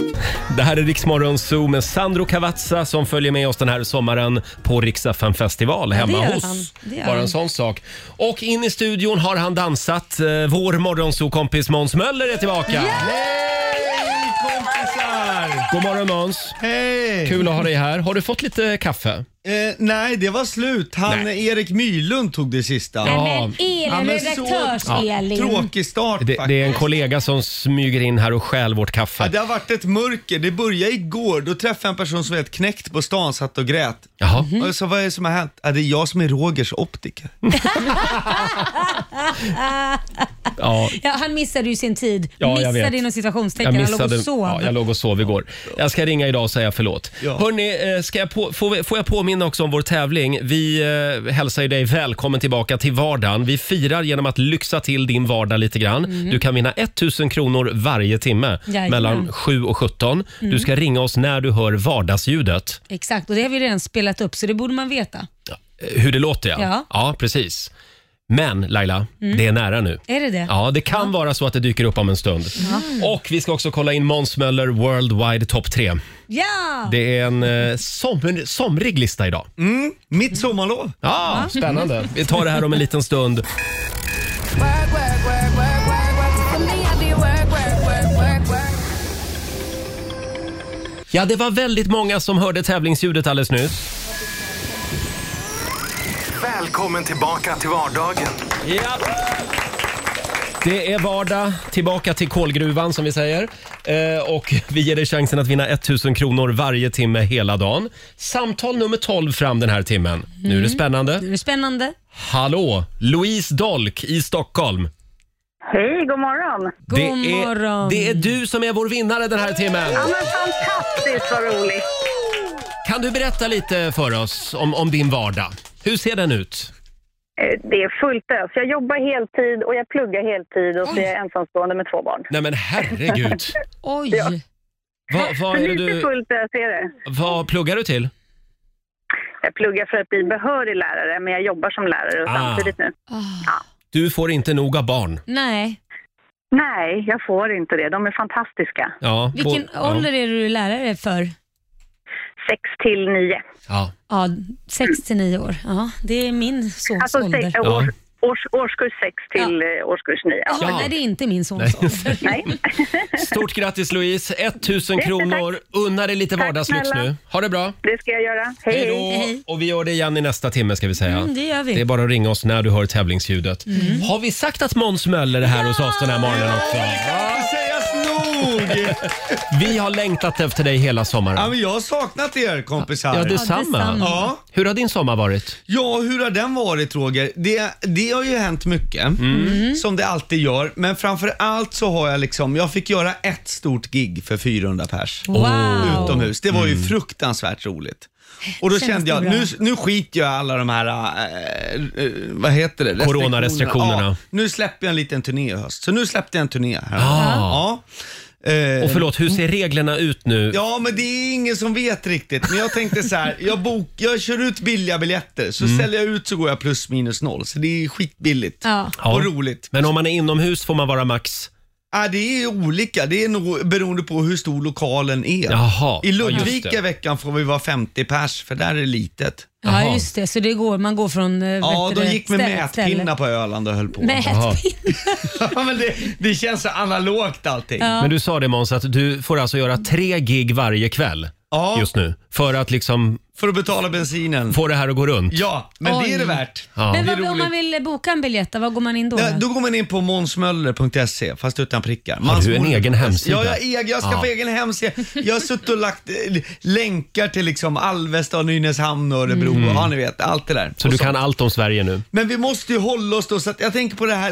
Det här är Riksmorgon Zoo med Sandro Cavazza som följer med oss den här sommaren på Riksaffen festival hemma
det gör han.
hos.
Det gör
Bara en
han.
sån sak. Och in i studion har han dansat. Eh, Vår morgonzoo-kompis Måns Möller är tillbaka.
Hej kompisar!
God morgon Måns!
Hej!
Kul att ha dig här. Har du fått lite kaffe?
Eh, nej, det var slut. Han Erik Mylund tog det sista.
Ja.
Men
Ja,
Elin,
men så-
redaktörs-Elin.
Tråkig start
Det, det
faktiskt.
är en kollega som smyger in här och stjäl vårt
Ja,
kaffe.
det har varit ett mörker. Det började igår. Då träffade jag en person som var helt knäckt på stan, satt och grät.
Jaha.
Mhm.
Och jag sa, vad är det som har hänt? Ja, det är jag som är Rogers optiker.
Ja,
Ja, han missade ju sin tid.
Ja, jag vet.
missade inom
jag
situationstecken. Han låg
missade.
och sov.
Ja, jag låg och sov igår. Jag ska ringa idag och säga förlåt.
Ja.
Hörrni, eh, ska jag på, får, vi- får jag påminna också om vår tävling? Vi eh, hälsar ju dig välkommen tillbaka till vardagen. Vi firar genom att lyxa till din vardag lite grann. Du kan vinna 1000 kronor varje timme
Mm. Jajamän. Mm.
mellan 7 och 17. Du ska ringa oss när du hör vardagsljudet.
Exakt, och det har vi redan spelat upp så det borde man veta.
Eh, Hur det låter ja. Ja,
Ja. Mm.
precis. Men Laila, det är nära nu.
Är det det?
Ja, det kan vara så att det dyker upp om en stund. Och vi ska också kolla in Måns Möller Worldwide Top 3.
Ja!
Det är en eh, somr, somrig lista idag.
Mitt sommarlov.
Mm. Ja, spännande. Vi tar det här om en liten stund. Ja, det var väldigt många som hörde tävlingsljudet alldeles nyss.
Välkommen tillbaka till vardagen.
Det är vardag, tillbaka till kolgruvan som vi säger. Eh, och vi ger dig chansen att vinna 1000 kronor varje timme hela dagen. Samtal nummer 12 fram den här timmen. Nu är det spännande.
Det är spännande.
Hallå, Louise Dolk i Stockholm.
Hej, god morgon.
God
det, är,
morgon.
det är du som är vår vinnare den här timmen.
Ja, men fantastiskt vad roligt.
Kan du berätta lite för oss om, om din vardag? Hur ser den ut?
Eh, Det är fullt ös. Jag jobbar heltid och jag pluggar heltid och så är jag ensamstående med två barn.
Nej men herregud.
Oj!
Vad, vad, är det
Lite
du,
fullt ös är det.
vad pluggar du till?
Jag pluggar för att bli behörig lärare, men jag jobbar som lärare
Ah.
samtidigt nu.
Ah.
Du får inte nog av barn.
Nej,
Nej, jag får inte det. De är fantastiska.
Ja,
vilken
bo- ja.
ålder är du lärare för?
Sex till nio.
Ja.
Ja, 6 till 9 år. Ja, det är min sons
Alltså
ålder.
sex,
Ja.
års, års, årskurs sex till eh, årskurs nio. Ja.
Ja,
Ja.
Nej, det är inte min
Nej.
sons ålder.
Nej.
Stort grattis Louise! 1000 kronor. Unna dig lite
Tack
vardagslyx
snälla.
nu. Ha det bra!
Det ska jag göra.
Hej
Hej, hej.
då!
Hej.
Och vi gör det igen i nästa timme ska vi säga.
Mm, det gör vi. Mm.
Det är bara att ringa oss när du hör tävlingsljudet. Har vi sagt att Måns Möller är här hos oss den här morgonen också?
Det sägas nog!
Vi har längtat efter dig hela
ja,
sommaren.
men jag har saknat er kompisar.
Ja, detsamma.
detsamma.
ja.
Hur har din sommar varit?
Ja, hur har den varit Roger? Det, det har ju hänt mycket, som det alltid gör. Men framför allt så har jag liksom, jag fick göra ett stort gig för 400 pers
Wow!
utomhus. Det var ju
Mm.
fruktansvärt roligt. Och då
Känns
kände
det
jag,
bra?
nu, nu skiter jag i alla de här, eh, eh, vad heter det?
Coronarestriktionerna.
Ja, nu släpper jag en liten turné i höst. Så nu släppte jag en turné här.
Ah.
Ja. Eh,
Och förlåt, hur ser reglerna ut nu?
Ja, men det är ingen som vet riktigt. Men jag tänkte så här, jag, bok, jag kör ut billiga biljetter,
Mm.
så säljer jag ut så går jag plus minus noll. Så det är skitbilligt
Ja.
Ja.
och roligt.
Men om man är inomhus får man vara max?
Ja, det är olika, det är nog beroende på hur stor lokalen är.
Jaha.
I
Ja, just
Ludvika
det.
veckan får vi vara 50 pers, för där är det litet.
Jaha.
Ja, just det. Så det går, man går från... eh,
Ja,
vet du
de
det,
gick med
ställe- ställe.
mätpinnar på Öland och höll på.
Jaha.
Mätpinnar?
Ja, men det, det känns så analogt allting. Ja.
Men du sa det Måns, att du får alltså göra tre gig varje kväll just nu för att liksom
för att betala bensinen.
få det här att gå runt.
Ja, men det är
Oj.
det värt.
Ja.
Men
Det är
vad, om
roligt.
man vill boka en biljett, då, vad går man in då?
Ja, då går man in på månsmöller.se fast utan prickar. Man
du en
smår-
egen hemsida?
Ja, jag, har egen, jag ska
Ja.
på egen hemsida. Jag har suttit och lagt eh, länkar till liksom Alvesta, och Nynäshamn och Örebro. Ja, ni vet. Allt det där.
Mm. Så
Och
du kan allt om Sverige nu?
Men vi måste ju hålla oss då, så att jag tänker på det här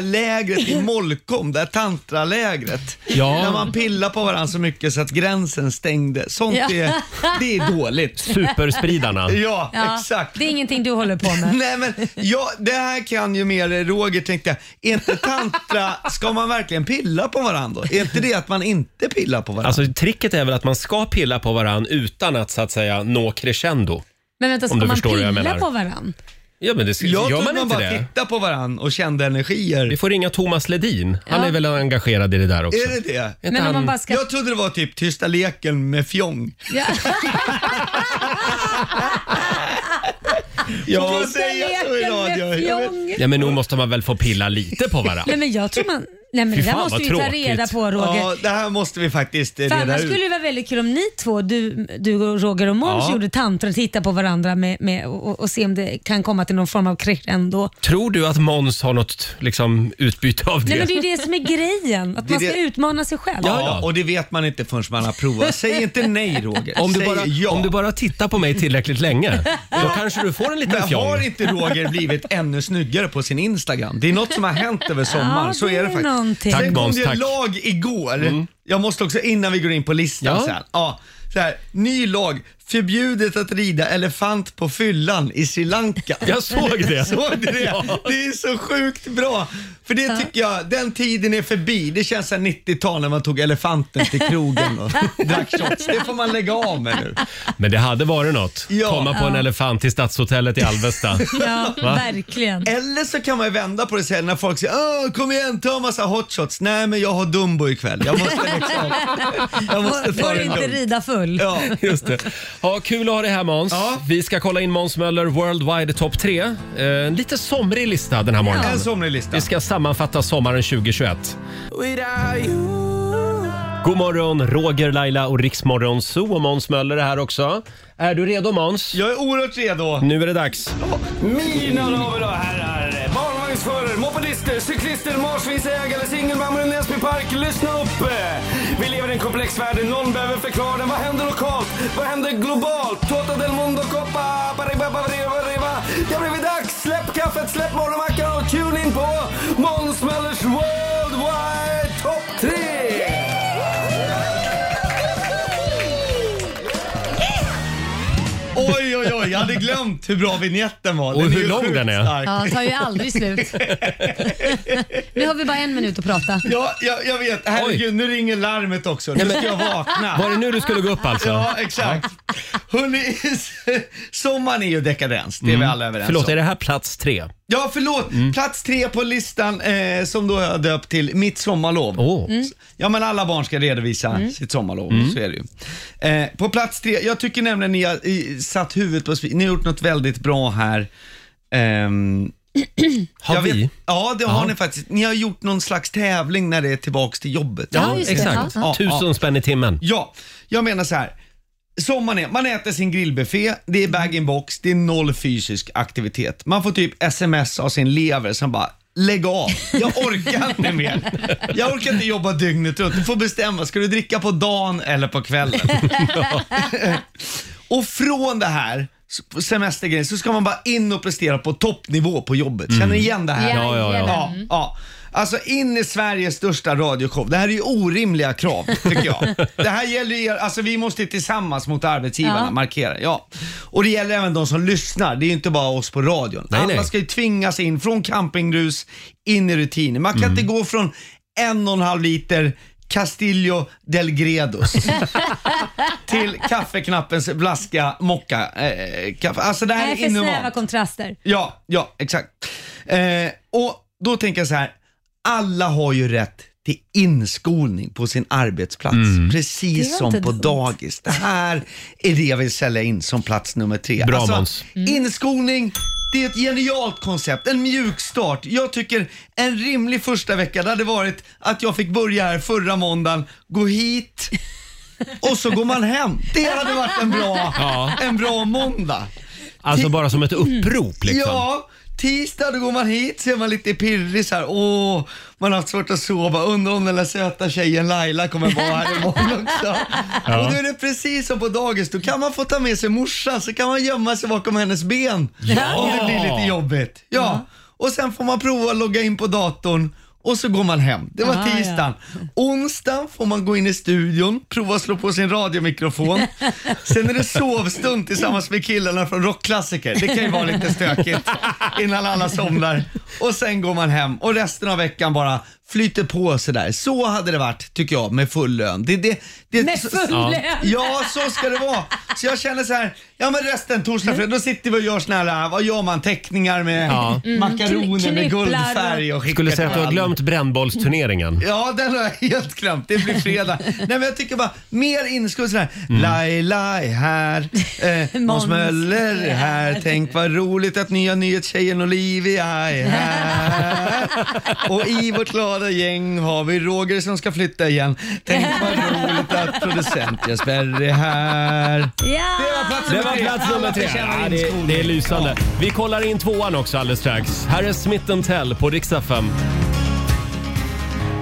lägret i Molkom, det här tantralägret.
Ja.
När man pillar på varandra så mycket så att gränsen stängde. Sånt
Ja.
är, det är dåligt.
Långridarna.
Ja, exakt.
Det är ingenting du håller på med.
Nej, men ja, det här kan ju mer Roger tänkte jag. Är inte tantra, ska man verkligen pilla på varandra? Är inte det att man inte pillar på varandra?
Alltså tricket är väl att man ska pilla på varann utan att så att säga nå crescendo.
Men vänta,
Om
ska
du
man
förstår vad jag
pilla
menar.
på varandra?
Ja, men det ska,
Jag
gör
trodde
man,
man
inte
bara
det?
tittar på varandra och kände energier.
Vi får ringa Thomas Ledin. Han
Ja.
är väl engagerad i det där också.
Är det det?
Men om han- man bara ska-
Jag trodde det var typ tysta leken med fjong.
Ja.
Ja,
Tysta
vad säger jag så i
leken med
radio? Jag vet-
fjong.
Ja, men nog måste man väl få pilla lite på varandra?
Nej men jag tror man... Nej men
Fy
det där
fan,
måste
vad
vi ta
tråkigt.
reda på Roger.
Ja, det här måste vi faktiskt eh,
För
reda
annars
ut.
skulle det vara väldigt kul om ni två, du, du och Roger och Måns,
Ja.
gjorde tantra, titta på varandra med, med, och, och se om det kan komma till någon form av crescendo.
Tror du att Måns har något liksom, utbyte av det?
Nej men det är ju det som är grejen, att
Det är
man ska
det-
utmana sig själv.
Ja, och det vet man inte förrän man har provat. Säg inte nej Roger.
Om du,
Säg
bara,
ja.
om du bara tittar på mig tillräckligt länge, då kanske du får en liten
Men har
fjong.
inte Roger blivit ännu snyggare på sin Instagram? Det är något som har hänt över sommaren.
Ja,
så
det
är
är
det faktiskt.
någonting. Tack,
Sen kom
Måns,
det
tack.
en lag igår. Jag måste också, innan vi går in på listan
Ja.
sen. Ja, så här, ny lag. Förbjudet att rida elefant på fyllan i Sri Lanka.
Jag såg det.
Såg du det? Det är så sjukt bra. För det tycker jag, den tiden är förbi. Det känns som 90-tal när man tog elefanten till krogen och drack shots. Det får man lägga av med nu.
Men det hade varit något.
Ja.
Komma på en elefant till Stadshotellet i Alvesta.
Ja,
Va?
verkligen.
Eller så kan man ju vända på det sen när folk säger Åh, kom igen, ta en massa hot shots. Nej, men jag har Dumbo ikväll. Jag måste liksom... jag måste ta
Får
det
du inte
lugnt.
rida full.
Ja.
Just det. Ja, kul att ha dig här Måns.
Ja.
Vi ska kolla in Måns Möller Worldwide Top 3. Eh, En lite somrig lista den här morgonen.
En somrig lista.
Vi ska sammanfatta sommaren 2021. God morgon, Roger, Laila och Riksmorgon Zoo och Måns Möller är här också. Är du redo Måns?
Jag är oerhört redo.
Nu är det dags.
Mina damer och herrar, barnvagnsförare, mopedister, cyklister, marsvinsägare, singelmammor i Näsby Park. Lyssna upp! Vi lever i en komplex värld, någon behöver förklara den. Vad händer lokalt? Vad händer globalt? Tota del mondo coppa, baribabaribaribariba. Det blir dags! Släpp kaffet, släpp morgonmackan och tune in på Måns Möllers Worldwide Top 3!
Oj, oj, oj. Jag hade glömt hur bra vignetten var.
Och
är
hur
ju
lång
sjukt
den är.
stark.
Ja, tar ju aldrig slut. nu har vi bara en minut att prata.
Ja, jag, jag vet. Herregud, nu ringer larmet också. Nu ska jag
Var
vakna.
det nu du skulle gå upp alltså?
Ja, exakt. Hörrni, sommaren är ju dekadens. Det är vi alla överens om.
Mm. Förlåt, är det här plats tre?
Ja, förlåt. Plats tre på listan eh, som då har jag döpt till Mitt sommarlov.
Åh.
Ja, men alla barn ska redovisa sitt sommarlov. Så är det ju. Eh, på plats tre, jag tycker nämligen ni har i, satt huvudet på spi- Ni har gjort något väldigt bra här. Ehm,
Har
jag
vi?
Vet, ja, det
Ja.
har ni faktiskt. Ni har gjort någon slags tävling när det är tillbaks till jobbet.
Ja, just det.
exakt.
Ja,
Tusen
ja.
spänn i timmen.
Ja, jag menar så här. Som man är, man äter sin grillbuffé, det är bag-in-box, det är noll fysisk aktivitet. Man får typ sms av sin lever som bara Lägg av, jag orkar inte mer. Jag orkar inte jobba dygnet runt. Du får bestämma, ska du dricka på dagen eller på kvällen? Och från det här s- semestergrejen så ska man bara in och prestera på toppnivå på jobbet. Känner ni igen det här?
Mm. Ja, ja, ja.
Ja, ja. Alltså in i Sveriges största radioshow. Det här är ju orimliga krav tycker jag. Det här gäller ju, er- alltså vi måste ju tillsammans mot arbetsgivarna
Ja.
markera. Ja. Och det gäller även de som lyssnar. Det är ju inte bara oss på radion.
Nej,
Alla
nej.
ska ju tvingas in från campingrus in i rutiner. Man kan inte gå från en och en halv liter Castillo del Gredos till kaffeknappens blaska mocka. Eh, kaffe. Alltså det här
Nej,
är
för snäva
inhumant.
kontraster.
Ja, ja exakt. Eh, och då tänker jag så här, alla har ju rätt till inskolning på sin arbetsplats,
Det
Mm.
precis
var
som
inte
på
dumt.
dagis. Det här är det jag vill sälja in som plats nummer tre. Alltså,
Bra, Måns.
Mm.
Inskolning, det är ett genialt koncept, en mjuk start. Jag tycker en rimlig första vecka, det hade varit att jag fick börja här förra måndagen, gå hit, och så går man hem. Det hade varit en bra,
Ja.
en bra måndag.
Alltså bara som ett upprop liksom.
Ja, tisdag då går man hit så är man lite pirrig så här. Åh, man har haft svårt att sova. Undrar om den där söta tjejen Laila kommer vara här imorgon också. Och då är det precis som på dagis. Då kan man få ta med sig morsan så kan man gömma sig bakom hennes ben. Om det blir lite jobbigt. Ja. Och sen får man prova att logga in på datorn. och så går man hem. Det var
Ah,
tisdagen. Onsdagen får man gå in i studion, prova att slå på sin radiomikrofon. Sen är det sovstund tillsammans med killarna från rockklassiker. Det kan ju vara lite stökigt innan alla somnar. Och sen går man hem och resten av veckan bara flyter på sådär. Så hade det varit, tycker jag, med full lön. Det, det, det,
Med full
ja.
lön.
Ja, så ska det vara. Så jag känner så här, ja men resten torsdag, fredag, då sitter vi och gör såna här, vad gör man, teckningar med
Ja. Mm,
makaroner med
knipplar och-
guldfärg och skickar
Skulle säga att du
till
har
alla.
glömt brännbollsturneringen.
Ja, den har jag helt glömt. Det blir fredag. Nej, men jag tycker bara mer inskudd sådär. Lai, lai här. Eh, Måns Möller är här. Tänk vad roligt att nya nyhetstjejen Olivia är här. Och i vårt glada gäng har vi Roger som ska flytta igen. Tänk vad roligt att producent Jesper är här.
Det var plats nummer tre. Ja, det, det är lysande. Vi kollar in tvåan också alldeles strax. Här är Smith Tell på riksdag 5.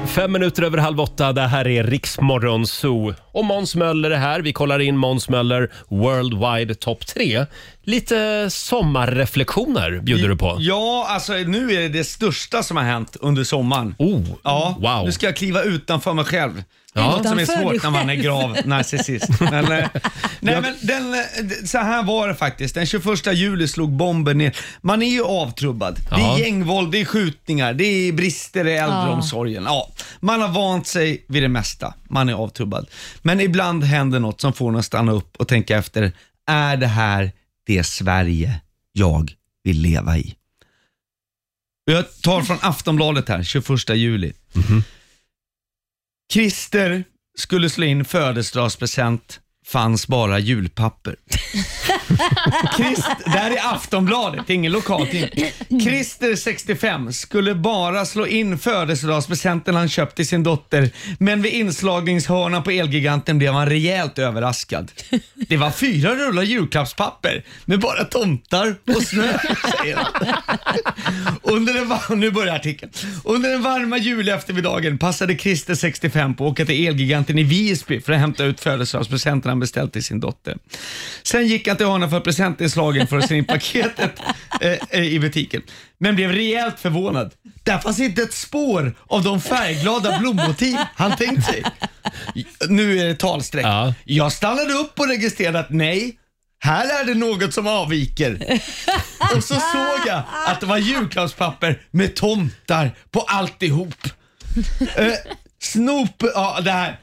Fem minuter över halv åtta. Det här är Riksmorgon Zoo. Och Måns Möller är här. Vi kollar in Måns Möller Worldwide Top 3. Lite sommarreflektioner bjuder du på.
Ja, alltså nu är det det största som har hänt under sommaren.
Oh,
ja.
wow.
Nu ska jag kliva utanför mig själv.
Ja.
Något som är
Utanför dig
svårt när man är
själv.
grav narcissist. Men, eh, nej, men den, eh, d- så här var det faktiskt. Den 21 juli slog bomben ner. Man är ju avtrubbad. Det
Ja.
är gängvåld, det är skjutningar, det är brister i äldreomsorgen. Ja. Man har vant sig vid det mesta. Man är avtrubbad. Men ibland händer något som får en att stanna upp och tänka efter. Är det här det Sverige jag vill leva i? Jag tar från Aftonbladet här, 21 juli. Christer skulle slå in födelsedagspresent, fanns bara julpapper. Christ, det här är Aftonbladet, det är ingen lokaltidning. Christer, 65, skulle bara slå in födelsedagspresenten han köpt till sin dotter, men vid inslagningshörnan på Elgiganten blev han rejält överraskad. Det var fyra rullar julklappspapper med bara tomtar och snö, säger han. Under den, var- nu börjar artikeln. Under den varma juleftermiddagen passade Christer 65 på att åka till Elgiganten i Visby för att hämta ut födelsedagspresenten han beställt till sin dotter. Sen gick han till honom för presentinslagen för att se in paketet eh, eh, i butiken. Men blev rejält förvånad. Där fanns inte ett spår av de färgglada blommotiv han tänkt sig. Nu är det talsträck. Jag stannade upp och registrerade att nej, här är det något som avviker. Och så såg jag att det var julklappspapper med tomtar på alltihop. Eh, snop, ja det här.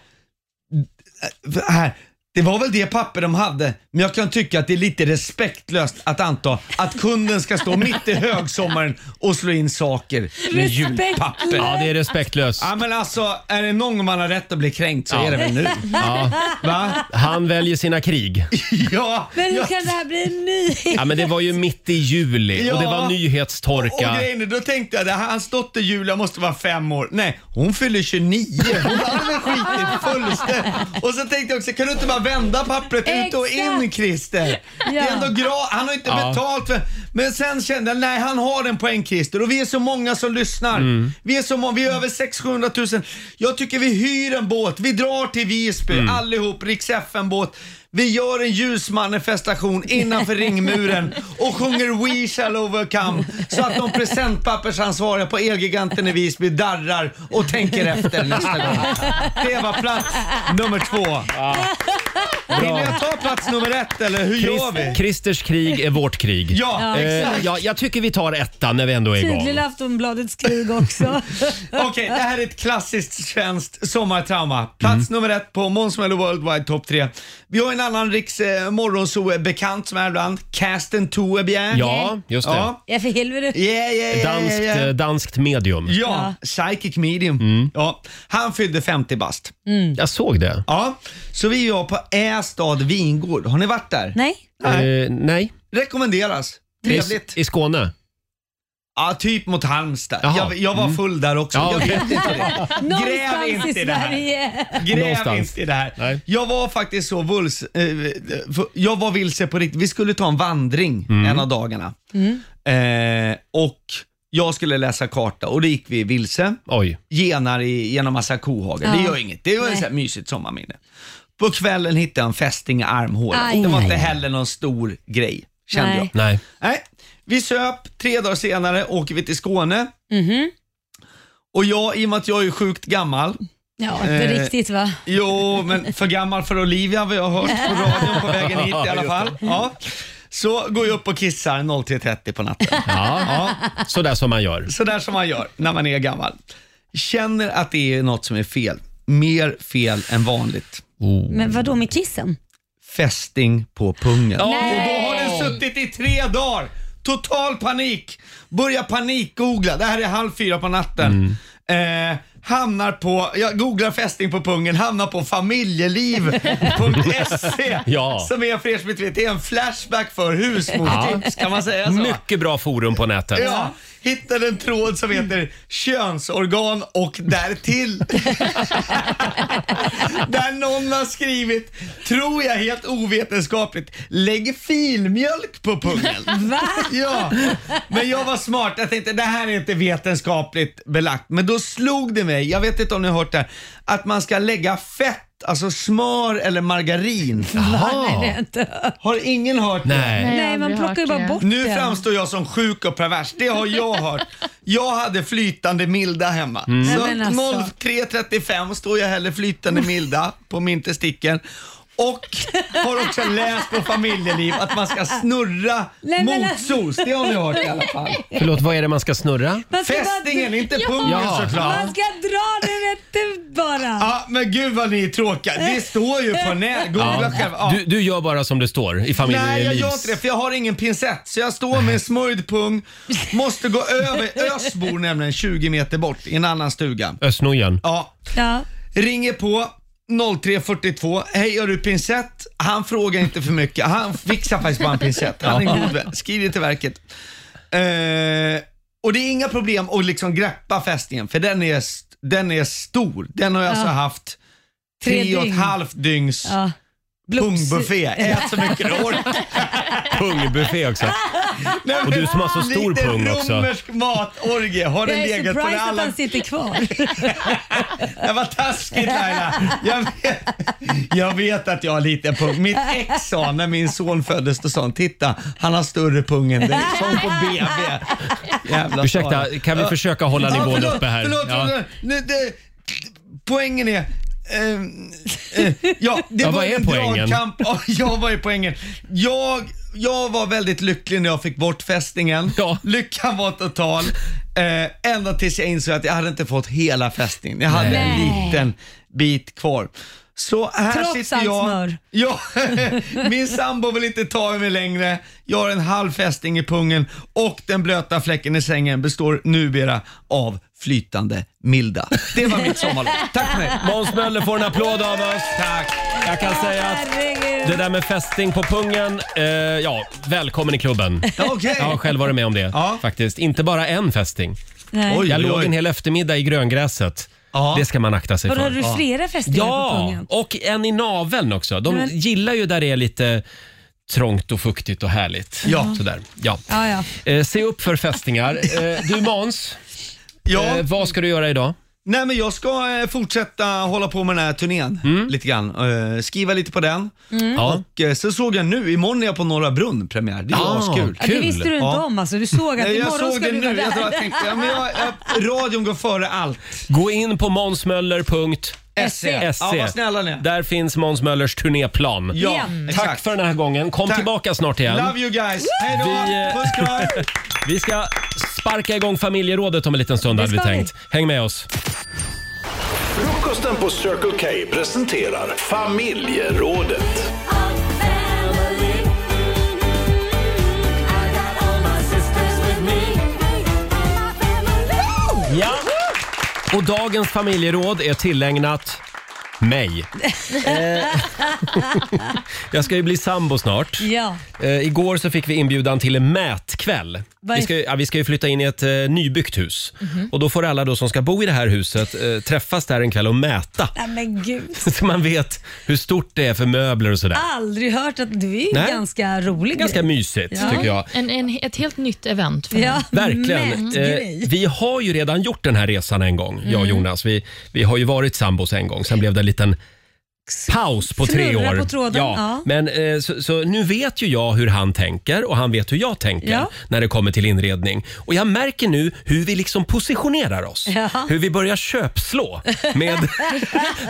Det här. Det var väl det papper de hade, men jag kan tycka att det är lite respektlöst att anta att kunden ska stå mitt i högsommaren och slå in saker med
Respektlöst.
julpapper.
Ja, det är respektlöst.
Ja, men alltså, är det någon gång man har rätt att bli kränkt så
Ja.
är det väl nu.
Ja.
Va?
Han väljer sina krig.
Ja,
Men hur
ja.
kan det här bli en nyhet?
Ja, men det var ju mitt i juli och det
Ja.
var nyhetstorka.
Och grejen är, då tänkte jag, det här, hans dotter Julia måste vara fem år. Nej, hon fyller 29. Hon hade väl skitit fullständigt. Och så tänkte jag också, kan du inte bara vända pappret ut och in Christer? Det
Ja.
är ändå gra- han har inte
Ja.
betalt för... Men sen kände jag, nej han har en poäng Christer och vi är så många som lyssnar.
Mm.
Vi är så många, vi är över 600 000. Jag tycker vi hyr en båt, vi drar till Visby
Mm.
allihop, Riks FN-båt. Vi gör en ljusmanifestation innanför ringmuren och sjunger We shall overcome så att de presentpappersansvariga på Elgiganten i Visby darrar och tänker efter nästa gång. Det var plats nummer två. Vill jag ta plats nummer ett eller hur gör vi?
Christers krig är vårt krig.
Ja,
Eh,
exakt.
ja, jag tycker vi tar ettan när vi ändå är igång.
Tydligen Aftonbladets krig också.
Okej, det här är ett klassiskt svenskt sommartrauma.
Mm.
Plats nummer ett på Måns Möller Worldwide Top 3. Vi har en annan riks eh, morgonzoo-bekant som är här ibland, Casten Toebjer.
Ja, just det.
Ja, för helvete.
Yeah, yeah, yeah,
Danskt,
yeah, yeah.
eh, Mm. danskt medium.
Mm.
Ja, psychic medium. Ja, han fyllde 50 bast.
Jag såg det.
Ja, så vi var på Ästad vingård. Har ni varit där?
Nej.
Nej.
Eh, nej.
Rekommenderas. Trevligt.
I, I Skåne?
Ja, typ mot Halmstad.
Jaha.
Jag, jag var
Mm.
full där också.
Ja,
jag
okej.
vet inte det. Gräv inte
Någonstans i
i det här.
Sverige.
Gräv
Någonstans.
inte i det här. Jag var faktiskt så vuls, eh, för- jag var vilse på riktigt. Vi skulle ta en vandring
Mm.
en av dagarna. Eh, och jag skulle läsa karta och då gick vi vilse.
Oj.
Genar i, genom massa kohagar. Det
Ja.
gör inget. Det var ett
Nej.
så här mysigt sommarminne. På kvällen hittade jag en fästing i armhålan.
Aj.
Det var inte heller någon stor grej, kände
Nej.
jag.
Nej.
Nej. Vi söp, tre dagar senare åker vi till Skåne. Och jag, i och med att jag är sjukt gammal.
Ja, inte
eh,
riktigt va?
Jo, men för gammal för Olivia har jag hört på radion på vägen hit i alla fall. Ja. Så går jag upp och kissar 03.30 på natten.
Ja. Sådär som man gör.
Sådär som man gör när man är gammal. Känner att det är något som är fel. Mer fel än vanligt.
Men vad då med kissen?
Fästing på pungen.
Ja,
Och då har den suttit i tre dagar. Total panik. Börjar panikgoogla. Det här är halv fyra på natten. Eh, hamnar på, jag googlar fästing på pungen, hamnar på familjeliv.se.
Ja.
Som är för er som inte vet, det är en flashback för husmorstips kan man säga så.
Mycket bra forum på nätet.
Ja, hittade en tråd som heter könsorgan och därtill. Där någon har skrivit, tror jag helt ovetenskapligt, lägg filmjölk på pungen.
Va?
Ja, men jag var smart. Jag tänkte det här är inte vetenskapligt belagt. Men då slog det mig, jag vet inte om ni har hört det, här, att man ska lägga fett, alltså smör eller margarin.
Nej, det är inte.
Har ingen hört
Nej.
det?
Nej, man plockar ju bara bort
Nu
den.
framstår jag som sjuk och pervers. Det har jag hört. Jag hade flytande milda hemma.
Nej,
Så
men alltså.
03.35 står jag heller flytande milda på min testikel. Och har också läst på familjeliv att man ska snurra
Nej, men alltså.
motsos. Det har ni hört i alla fall.
Förlåt, vad är det man ska snurra?
Man ska bara-
Fästingen, inte
Ja.
pungen
Ja.
såklart.
Man ska dra den rätt ut bara.
Ja, men gud vad ni är tråkiga. Det står ju på nätet. Googla själv. Ja.
Du, du gör bara som det står i
Nej, jag gör
familjelivs...
inte det för jag har ingen pincett. Så jag står med en smörjd pung, måste gå över. Ös bor nämligen 20 meter bort i en annan stuga.
Ösnojan.
Ja,
Ja.
ringer på 0342. Hej, har du pincett? Han frågar inte för mycket. Han fixar faktiskt bara en pincett. Han är en god vän. Skriver till verket. Eh, och det är inga problem att liksom greppa fästingen för den är, st- den är stor. Den har jag alltså haft
Tre
tre och ett
dygn.
halvt dygns
Ja. Blops-
pungbuffé. Ät så mycket du orkar.
Pungbuffé också. Och du som har så stor pung också.
Lite romersk matorgie har
Jag
den
är
legat på
surprised
det
att
alla...
han sitter kvar.
Det var taskigt Laila. Jag vet, jag vet att jag har liten pung. Mitt ex sa när min son föddes, då sa han titta han har större pung än dig. Som på BB. Jävla Sara.
Ursäkta, kan vi försöka hålla
Ja,
nivån
förlåt,
uppe här?
Förlåt,
Ja.
förlåt, Nu, det, poängen är ehm, eh, ja, det
Ja,
var
vad är
en
poängen?
dragkamp. Ja, jag var i poängen. Jag, jag var väldigt lycklig när jag fick bort fästingen.
Ja.
Lyckan var total. Eh, ända tills jag insåg att jag hade inte fått hela fästningen. Jag hade en liten bit kvar. Så här
Trots
sitter
allt
jag.
smör.
Ja, min sambo vill inte ta i mig längre. Jag har en halv fästing i pungen och den blöta fläcken i sängen består numera av flytande milda. Det var mitt sommarlov. Tack för mig.
Måns Möller får en applåd av oss.
Tack.
Jag kan säga att
Herregud.
det där med fästing på pungen, eh, ja, välkommen i klubben.
Okej.
Jag har själv varit med om det
Ja.
faktiskt. Inte bara en fästing.
Nej.
Oj,
Jag
oj,
låg
oj.
en hel eftermiddag i gröngräset.
Ja.
Det ska man akta sig
Vadå, har
för.
du flera fästingar på
Ja,
pungen?
och en i naveln också. De
Men-
gillar ju där det är lite trångt och fuktigt och härligt.
Ja.
Sådär. ja.
Ja, ja.
Eh, se upp för fästingar. Eh, du Måns,
Ja,
eh, vad ska du göra idag?
nej men jag ska eh, fortsätta hålla på med den här turnén
Mm.
lite grann. Eh, Skriva lite på den.
Ja.
Och eh, så såg jag nu, imorgon är jag på Norra Brunn premiär. Det är
Ah,
askul.
Ja, Det visste du inte
Ja.
om alltså. Du såg att
Nej, Jag
imorgon
såg
ska
det
du vara
nu. Jag
där.
bara tänkte, ja, men jag, jag, radion går före allt.
Gå in på månsmöller.se.
SE. E. Ja, vad snälla ni är.
Där finns Måns Möllers turnéplan.
Ja, Mm.
Ja.
exakt.
Tack för den här gången. Kom
Tack.
tillbaka snart igen.
Love you guys. Hej då.
Vi, eh,
Puss kram.
Vi ska sparka igång familjerådet om en liten stund hade vi
ska vi.
tänkt. Häng med oss.
Frukosten på Circle K presenterar familjerådet.
Ja. Och dagens familjeråd är tillägnat mig. Eh, Jag ska ju bli sambo snart.
Ja.
Eh, igår så fick vi inbjudan till en mätkväll.
Vad
Vi
är- Mhm.
ska, ju- ja, vi ska ju flytta in i ett eh, nybyggt hus. Och Då får alla då som ska bo i det här huset eh, träffas där en kväll och mäta.
Nej men gud.
Så man vet hur stort det är för möbler och
Ah,
sådär.
Aldrig hört att du är ju
Nej.
ganska rolig.
Ganska
grej.
mysigt tycker jag.
En, Mm. en, ett helt nytt event för
Ja,
Verkligen.
mätt
Eh,
grej. Mm.
vi har ju redan gjort den här resan en gång, jag och Jonas. Vi, vi har ju varit sambos en gång, sen blev det en liten paus på tre
Snurra
år.
på tråden, ja.
Men, eh, så, så nu vet ju jag hur han tänker och han vet hur jag tänker
Ja.
när det kommer till inredning. Och jag märker nu hur vi liksom positionerar oss.
Ja.
Hur vi börjar köpslå med,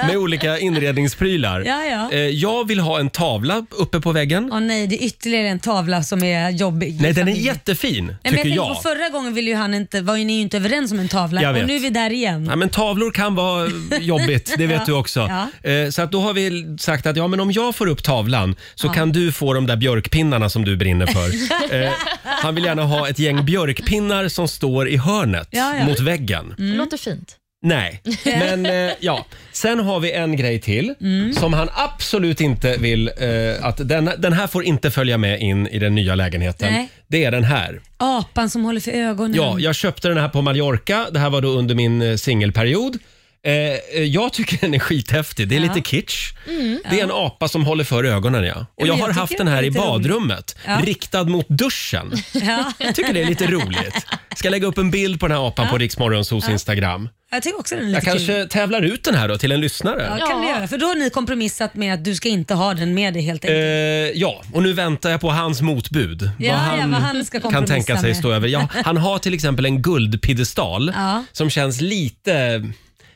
med olika inredningsprylar.
Ja, ja.
Eh, jag vill ha en tavla uppe på väggen.
Åh nej, det är ytterligare en tavla som är jobbig.
Nej, den är jättefin,
Nej, men jag
tycker
tänker
jag.
på förra gången ville ju han inte, var ju ni ju inte överens om en
Jag
tavla och
vet.
nu är vi där igen.
Ja, men tavlor kan vara jobbigt, det vet
Ja.
du också.
Ja.
Eh, Så att då har vi sagt att ja, men om jag får upp tavlan så kan du få de där björkpinnarna som du brinner för. Eh, Han vill gärna ha ett gäng björkpinnar som står i hörnet
Ja, ja.
mot väggen.
Mm.
Låter fint.
Nej, men eh, ja. Sen har vi en grej till
Mm.
som han absolut inte vill eh, att den, den här får inte följa med in i den nya lägenheten.
Nej.
Det är den här.
Apan som håller för ögonen.
Ja, jag köpte den här på Mallorca. Det här var då under min eh, singelperiod. Eh, eh, jag tycker den är skithäftig. Det är lite kitsch.
Mm.
Det är en apa som håller för ögonen. Ja.
men
Och jag
jag
har
tycker
haft
den
den här
är
i
lite rolig.
badrummet,
Ja.
riktad mot duschen.
Ja.
Jag tycker det är lite roligt. Ska lägga upp en bild på den här apan på Riksmorgonsos Instagram.
Jag tycker också den är lite
Jag kanske
kul.
tävlar ut den här då till en lyssnare.
Ja, kan du göra. För då har ni kompromissat med att du ska inte ha den med dig helt
Eh,
enkelt.
ja, och nu väntar jag på hans motbud.
Ja, ja, vad han ska
kan
kompromissa
tänka sig
med.
stå över. Ja, han har till exempel en guldpiedestal
Ja.
som känns lite,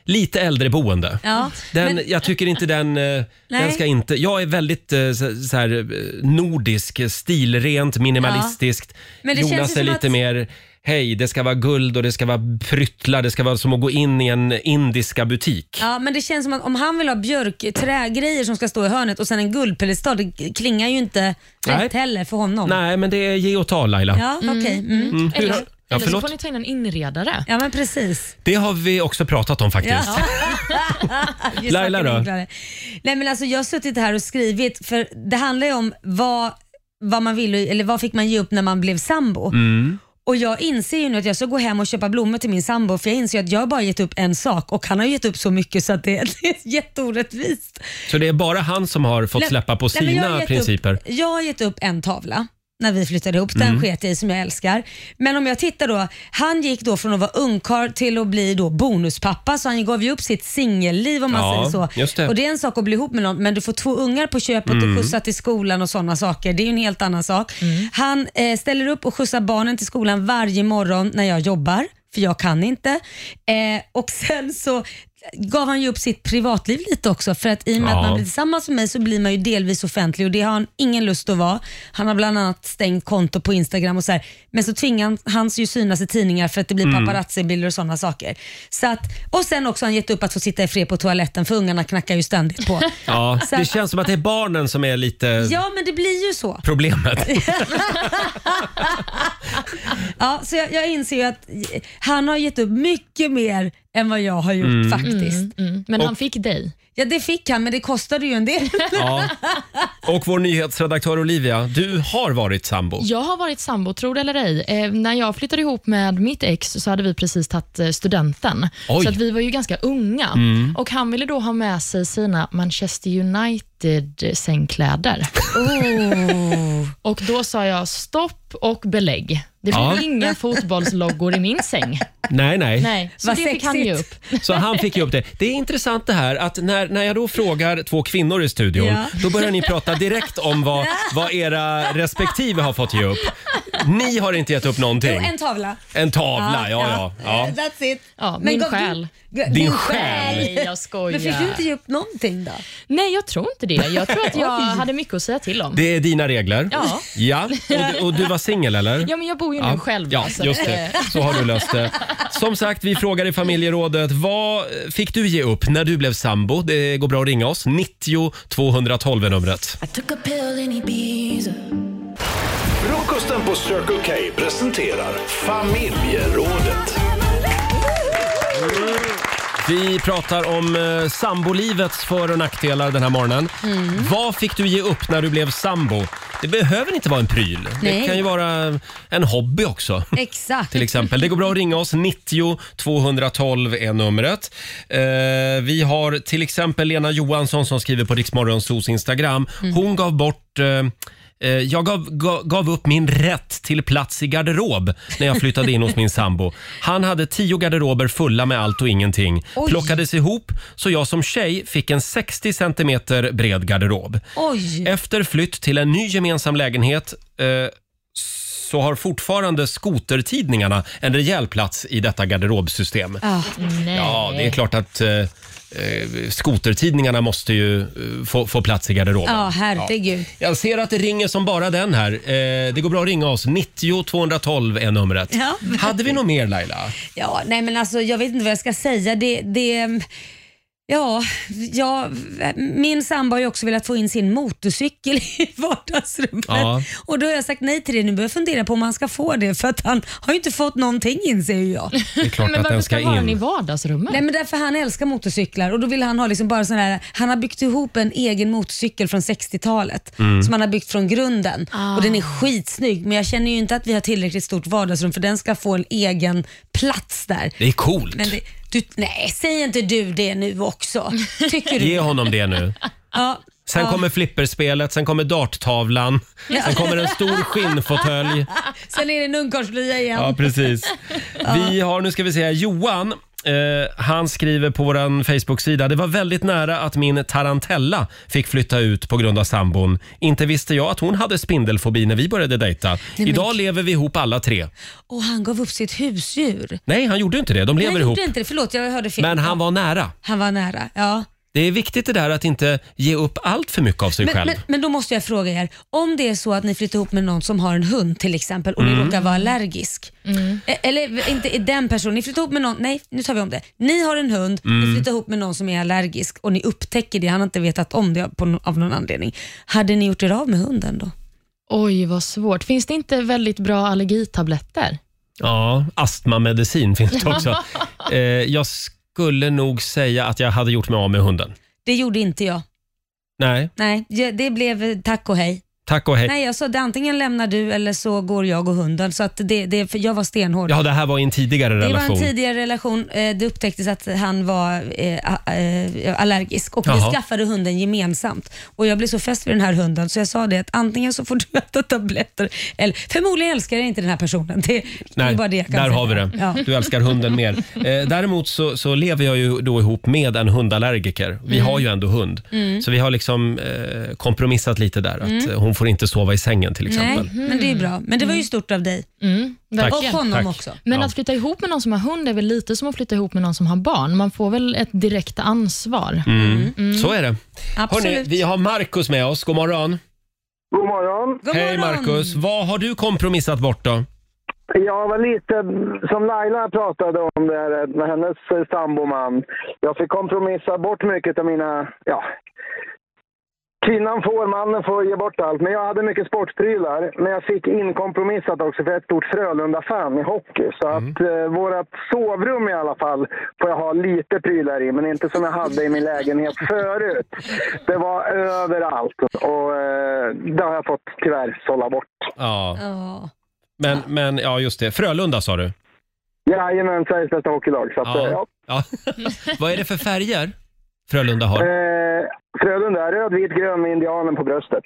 lite äldreboende.
Ja,
Den,
men-
Jag tycker inte den, eh, den ska inte... Jag är väldigt eh, så, så här, eh, nordisk, stilrent, minimalistiskt.
Men det känns
Jonas
ju
är
som
lite
att-
mer... Hej, det ska vara guld och det ska vara pryttlar. Det ska vara som att gå in i en indiska butik.
Ja, men det känns som att om han vill ha björkträgrejer som ska stå i hörnet och sen en guldpiedestal, det klingar ju inte
Nej.
rätt heller för honom.
Nej, men det är ge och ta Laila.
Ja, okej. Mm.
Mm. Hur-
Eller,
Ja,
eller så
förlåt.
får ni ta in en inredare.
Ja, men precis.
Det har vi också pratat om faktiskt.
Ja. Just
Laila
saker
då?
enklare. Nej, men alltså, jag har suttit här och skrivit, för det handlar ju om vad, vad man ville, eller vad fick man ge upp när man blev sambo.
Mm.
Och jag inser ju nu att jag ska gå hem och köpa blommor till min sambo för jag inser ju att jag bara gett upp en sak och han har gett upp så mycket så att det, det är jätteorättvist.
Så det är bara han som har fått
Nej,
släppa på
nej, men jag har
sina
gett
principer?
Upp, jag har gett upp en tavla när vi flyttade ihop. Den
Mm.
sket jag i som jag älskar. Men om jag tittar då. Han gick då från att vara ungkarl till att bli då bonuspappa så han gav ju upp sitt singelliv om man
Ja,
säger så.
just det.
Och det är en sak att bli ihop med någon men du får två ungar på köpet
Mm.
och skjutsa till skolan och sådana saker. Det är ju en helt annan sak. Han eh, ställer upp och skjutsar barnen till skolan varje morgon när jag jobbar för jag kan inte. Eh, och sen så gav han ju upp sitt privatliv lite också för att i och med att
Ja.
man blir tillsammans med mig så blir man ju delvis offentlig och det har han ingen lust att vara. Han har bland annat stängt konto på Instagram och så här. Men så tvingar han, han ju synas i tidningar för att det blir
Mm.
paparazzi-bilder och sådana saker. Så att, och sen också har han gett upp att få sitta i fred på toaletten för ungarna knackar ju ständigt på.
Ja,
Så
det
att-
känns som att det är barnen som är lite
Ja, men det blir ju så.
problemet.
Ja, så jag, jag inser ju att han har gett upp mycket mer än vad jag har gjort
Mm.
faktiskt.
Men Och- han
fick dig? Ja, det fick han, men det kostade ju en del.
Ja. Och vår nyhetsredaktör Olivia, du har varit sambo.
Jag har varit sambo, tro det eller ej. Eh, när jag flyttade ihop med mitt ex så hade vi precis tagit eh, studenten.
Oj.
Så att vi var ju ganska unga.
Mm.
Och Han ville då ha med sig sina Manchester United-sängkläder. och Då sa jag stopp och belägg. Det blir
Ja.
inga fotbollsloggor i min säng.
Nej, nej.
Nej, så
Vad
det fick han ju upp.
Så han fick ju upp det. Det är intressant det här att när, när jag då frågar två kvinnor i studion,
Ja.
då börjar ni prata direkt om vad, vad era respektive har fått ge upp. Ni har inte gett upp någonting.
en tavla.
En tavla, ja, ja. ja.
Eh, That's it.
Ja,
Men
min
gav du-
själ.
ga-
Din själ.
Nej, jag skojar.
Men fick du inte ge upp någonting då?
Nej, jag tror inte det. Jag tror att jag
Oj.
hade mycket att säga till om.
Det är dina regler.
Ja.
ja. Och, du- och du var singel eller?
Ja, men jag bor ju nu själv,
Ja,
alltså.
just det. Så har du löst det. Som sagt, vi frågar i familjerådet. Vad fick du ge upp när du blev sambo? Det går bra att ringa oss. 90 212 är numret.
Frukosten på Circle K presenterar familjerådet.
Vi pratar om eh, sambolivets för och nackdelar den här morgonen.
Mm.
Vad fick du ge upp när du blev sambo? Det behöver inte vara en pryl. Det
Nej.
kan ju vara en hobby också.
Exakt.
till exempel. Det går bra att ringa oss. 90 212 är numret. Eh, vi har till exempel Lena Johansson som skriver på Riksmorgonsos Instagram. Hon gav bort eh, eh, jag gav, ga- gav upp min rätt till plats i garderob när jag flyttade in hos min sambo. Han hade tio garderober fulla med allt och ingenting.
Oj.
Plockades ihop så jag som tjej fick en 60 centimeter bred garderob.
Oj!
Efter flytt till en ny gemensam lägenhet eh, så har fortfarande skotertidningarna en rejäl plats i detta garderobsystem.
Ah, nej.
Ja, det är klart att eh, eh, skotertidningarna måste ju eh, få, få plats i garderoben.
Ja, herregud.
Ja. Jag ser att det ringer som bara den här. Eh, det går bra att ringa oss. 90 212 är numret.
Ja.
Hade vi något mer Laila?
Ja, nej men alltså jag vet inte vad jag ska säga. Det, det, ja, jag, min sambo har ju också velat få in sin motorcykel i vardagsrummet.
Ja.
Och då har jag sagt nej till det. Nu börjar jag fundera på om han ska få det för att han har ju inte fått någonting in sig ju jag.
Det är klart Men att varför den ska ska han ha in. den i
vardagsrummet?
Nej men därför han älskar motorcyklar och då vill han ha liksom bara sån här, han har byggt ihop en egen motorcykel från 60-talet
Mm.
som han har byggt från grunden
Ah.
och den är skitsnygg men jag känner ju inte att vi har tillräckligt stort vardagsrum för den ska få en egen plats där.
Det är coolt.
Men det, du, nej, säg inte du det nu också. Tycker du?
Ge honom det nu.
Ja.
Sen
ja.
kommer flipperspelet, sen kommer darttavlan,
Ja.
sen kommer en stor skinnfåtölj.
Sen är det en ungkarlslya igen.
Ja, precis. Vi har, nu ska vi se, Johan. Eh, han skriver på vår Facebook-sida. Det var väldigt nära att min tarantella fick flytta ut på grund av sambon. Inte visste jag att hon hade spindelfobi när vi började dejta.
men-
Idag lever vi ihop alla tre.
Och han gav upp sitt husdjur.
Nej, han gjorde inte det. De lever
Nej,
ihop.
gjorde inte det. Förlåt, jag hörde fel.
Men han var nära.
Han var nära, ja.
Det är viktigt det där att inte ge upp allt för mycket av sig
Men,
själv.
men, men då måste jag fråga er, om det är så att ni flyttar ihop med någon som har en hund till exempel och ni
Mm.
råkar vara allergisk. E- Eller inte är den personen, ni flyttar ihop med någon, nej nu tar vi om det. Ni har en hund, ni
Mm.
flyttar ihop med någon som är allergisk och ni upptäcker det, han har inte vetat om det på, no- av någon anledning. Hade ni gjort er av med hunden då?
Oj, vad svårt. Finns det inte väldigt bra allergitabletter?
Ja, astmamedicin finns det också.
Ja.
eh, jag skulle nog säga att jag hade gjort mig av med hunden.
Det gjorde inte jag.
Nej,
Nej, jag- det blev eh, tack och hej.
tack och hej.
Nej, jag sa det antingen lämnar du eller så går jag och hunden. Så att det, det, för jag var stenhård.
Ja, det här var i en tidigare
Det
relation.
var en tidigare relation. Eh, Det upptäcktes att han var eh, a- eh, allergisk och
Jaha.
vi skaffade hunden gemensamt. Och Jag blev så fäst vid den här hunden så jag sa det att antingen så får du äta tabletter eller förmodligen älskar jag inte den här personen. Det, det är
Nej,
bara det jag kan
där
säga.
har vi det.
Ja.
Du älskar hunden mer. Eh, däremot så, så lever jag ju då ihop med en hundallergiker. Vi
Mm.
har ju ändå hund.
Mm.
Så vi har liksom eh, kompromissat lite där. Att
Mm.
eh, Hon får inte sova i sängen till exempel.
Nej, men det är bra. Men det var ju stort av dig.
verkligen.
Och honom
Tack.
också.
Men
Ja.
att flytta ihop med någon som har hund är väl lite som att flytta ihop med någon som har barn. Man får väl ett direkt ansvar.
Mm. Så är det.
Absolut.
Hörrni, vi har Markus med oss. God morgon.
God morgon.
Hej Markus. Vad har du kompromissat bort då?
Jag var lite, som Laila pratade om där med hennes eh, samboman. Jag fick kompromissa bort mycket av mina, ja. Kvinnan får, mannen får ge bort allt. Men jag hade mycket sportprylar. Men jag fick inkompromissat också för jag är ett stort Frölunda-fan i hockey. Så att eh, vårat sovrum i alla fall får jag ha lite prylar i. Men inte som jag hade i min lägenhet förut. Det var överallt. Och eh, det har jag fått tyvärr sålla bort.
Ja,
Ja.
men, men ja, just det. Frölunda sa du?
Jajamän, Sveriges bästa hockeylag. Så att, eh, ja.
ja. Vad är det för färger Frölunda har?
Eh, Frölunda, röd, vit, grön med indianen på bröstet.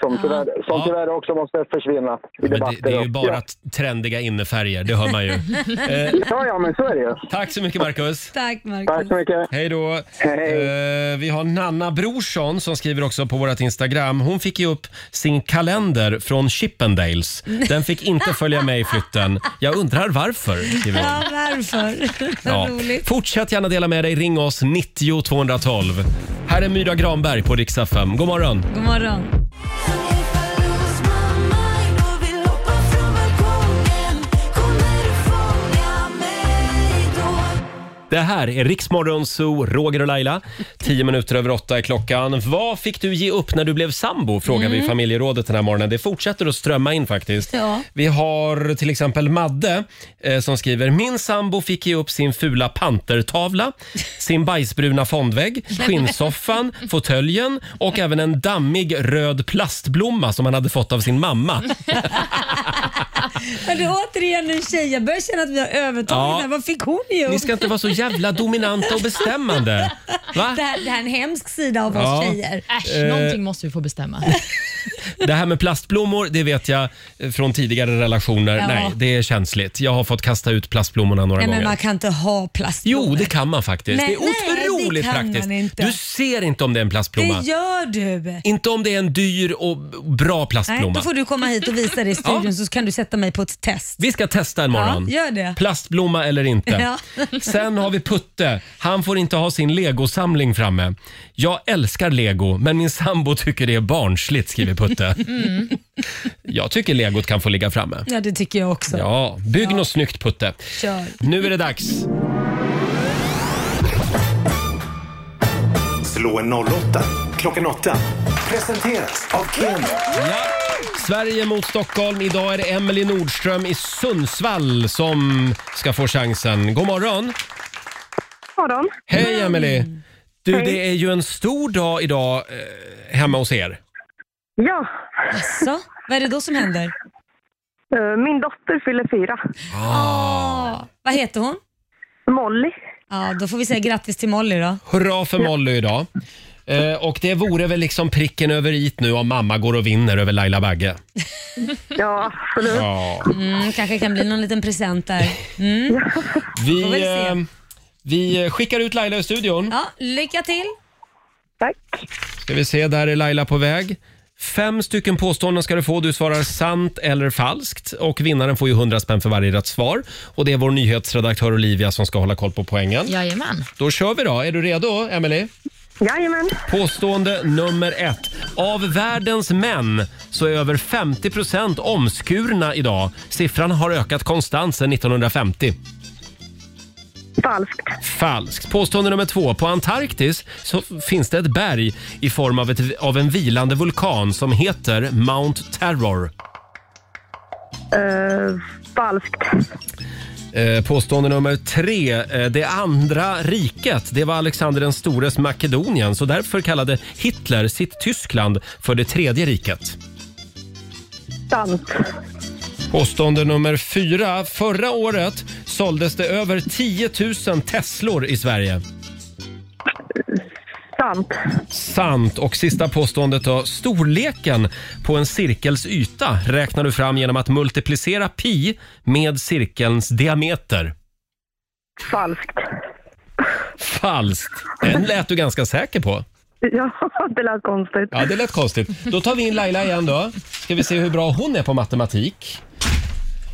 Som, tyvärr, som tyvärr också måste försvinna i
Men
debatter.
det, det är ju
och-
bara
Ja.
t- trendiga innefärger, det hör man ju. Eh,
Ja, ja, men så är det ju.
Tack så mycket Marcus.
Tack Marcus.
Tack så mycket.
Hej då. Eh, vi har Nanna Brorsson som skriver också på vårt Instagram. Hon fick ju upp sin kalender från Chippendales. Den fick inte följa med i flytten. Jag undrar varför, skriver hon.
Ja, varför?
Ja.
Vad roligt.
Fortsätt gärna dela med dig. Ring oss 90 212. Här är Myra Granberg på Rix FM. God morgon!
God morgon.
Det här är Riksmorgon Zoo, Roger och Laila. Tio minuter över åtta är klockan. Vad fick du ge upp när du blev sambo? Frågar vi
Mm.
i familjerådet den här morgonen. Det fortsätter att strömma in faktiskt.
Ja.
Vi har till exempel Madde eh, som skriver Min sambo fick ge upp sin fula pantertavla, sin bajsbruna fondvägg, skinnsoffan, fåtöljen och även en dammig röd plastblomma som han hade fått av sin mamma.
Men det är återigen en tjej, jag börjar känna att vi har
Ja.
övertagit ja. Vad fick hon ju?
Ni ska inte vara så jävla dominanta och bestämmande. Va?
Det här, det här är en hemsk sida av
Ja.
oss tjejer.
Äsch, Eh. någonting
måste vi få bestämma.
Det här med plastblommor, det vet jag eh, från tidigare relationer.
Ja.
Nej, det är känsligt. Jag har fått kasta ut plastblommorna några
Nej, men
gånger.
man kan inte ha plast.
Jo, det kan man faktiskt.
Nej,
det är
nej, det
otroligt
kan man
praktiskt.
inte.
Du ser inte om det är en plastblomma.
Det gör du.
Inte om det är en dyr och bra plastblomma.
Nej, då får du komma hit och visa det i studion så kan du sätta mig på ett test.
Vi ska testa en morgon.
Ja, gör det.
Plastblomma eller inte.
Ja.
Sen har vi Putte. Han får inte ha sin legosamling framme. Jag älskar lego, men min sambo tycker det är barnsligt, skriver Putte.
Mm.
Jag tycker legot kan få ligga framme.
Ja, det tycker jag också.
Ja, bygg något snyggt Putte.
Kör.
Nu är det dags.
Slå en 08 klockan 8. Presenteras av Keno.
Sverige mot Stockholm. Idag är det Emelie Nordström i Sundsvall som ska få chansen. God morgon!
morgon.
Hej Emelie! Du,
Hej.
det är ju en stor dag idag eh, hemma hos er.
Ja.
Jaså, vad är det då som händer?
eh, Min dotter fyller fyra.
Ah. Vad heter hon?
Molly.
Ja, då får vi säga grattis till Molly då.
Hurra för Molly idag. Eh, och det vore väl liksom pricken över it nu om mamma går och vinner över Laila Bagge.
Ja, absolut.
Ja.
Mm, kanske kan bli någon liten present där. Mm.
Vi,
Får väl se.
eh, vi skickar ut Laila i studion.
Ja, lycka till!
Ska vi se, där är Laila på väg. Fem stycken påståenden ska du få. Du svarar sant eller falskt. Och Vinnaren får ju 100 spänn för varje rätt svar. Och Det är vår nyhetsredaktör Olivia som ska hålla koll på poängen.
Jajamän.
Då kör vi då. Är du redo, Emily?
Jajamän.
Påstående nummer ett. Av världens män så är över 50 procent omskurna idag. Siffran har ökat konstant sedan 1950.
Falskt.
Falskt. Påstående nummer två. På Antarktis så f- finns det ett berg i form av, ett, av en vilande vulkan som heter Mount Terror.
Eh, falskt.
Eh, Påstående nummer tre. Eh, Det andra riket, det var Alexander den stores Makedonien så därför kallade Hitler sitt Tyskland för det tredje riket.
Sant.
Påstående nummer fyra. Förra året såldes det över 10 000 Teslor i Sverige.
Sant.
Sant. Och sista påståendet då. Storleken på en cirkels yta räknar du fram genom att multiplicera pi med cirkelns diameter.
Falskt.
Falskt. Den lät du ganska säker på.
Ja, det lät konstigt.
Ja, det lät konstigt. Då tar vi in Laila igen då. Ska vi se hur bra hon är på matematik.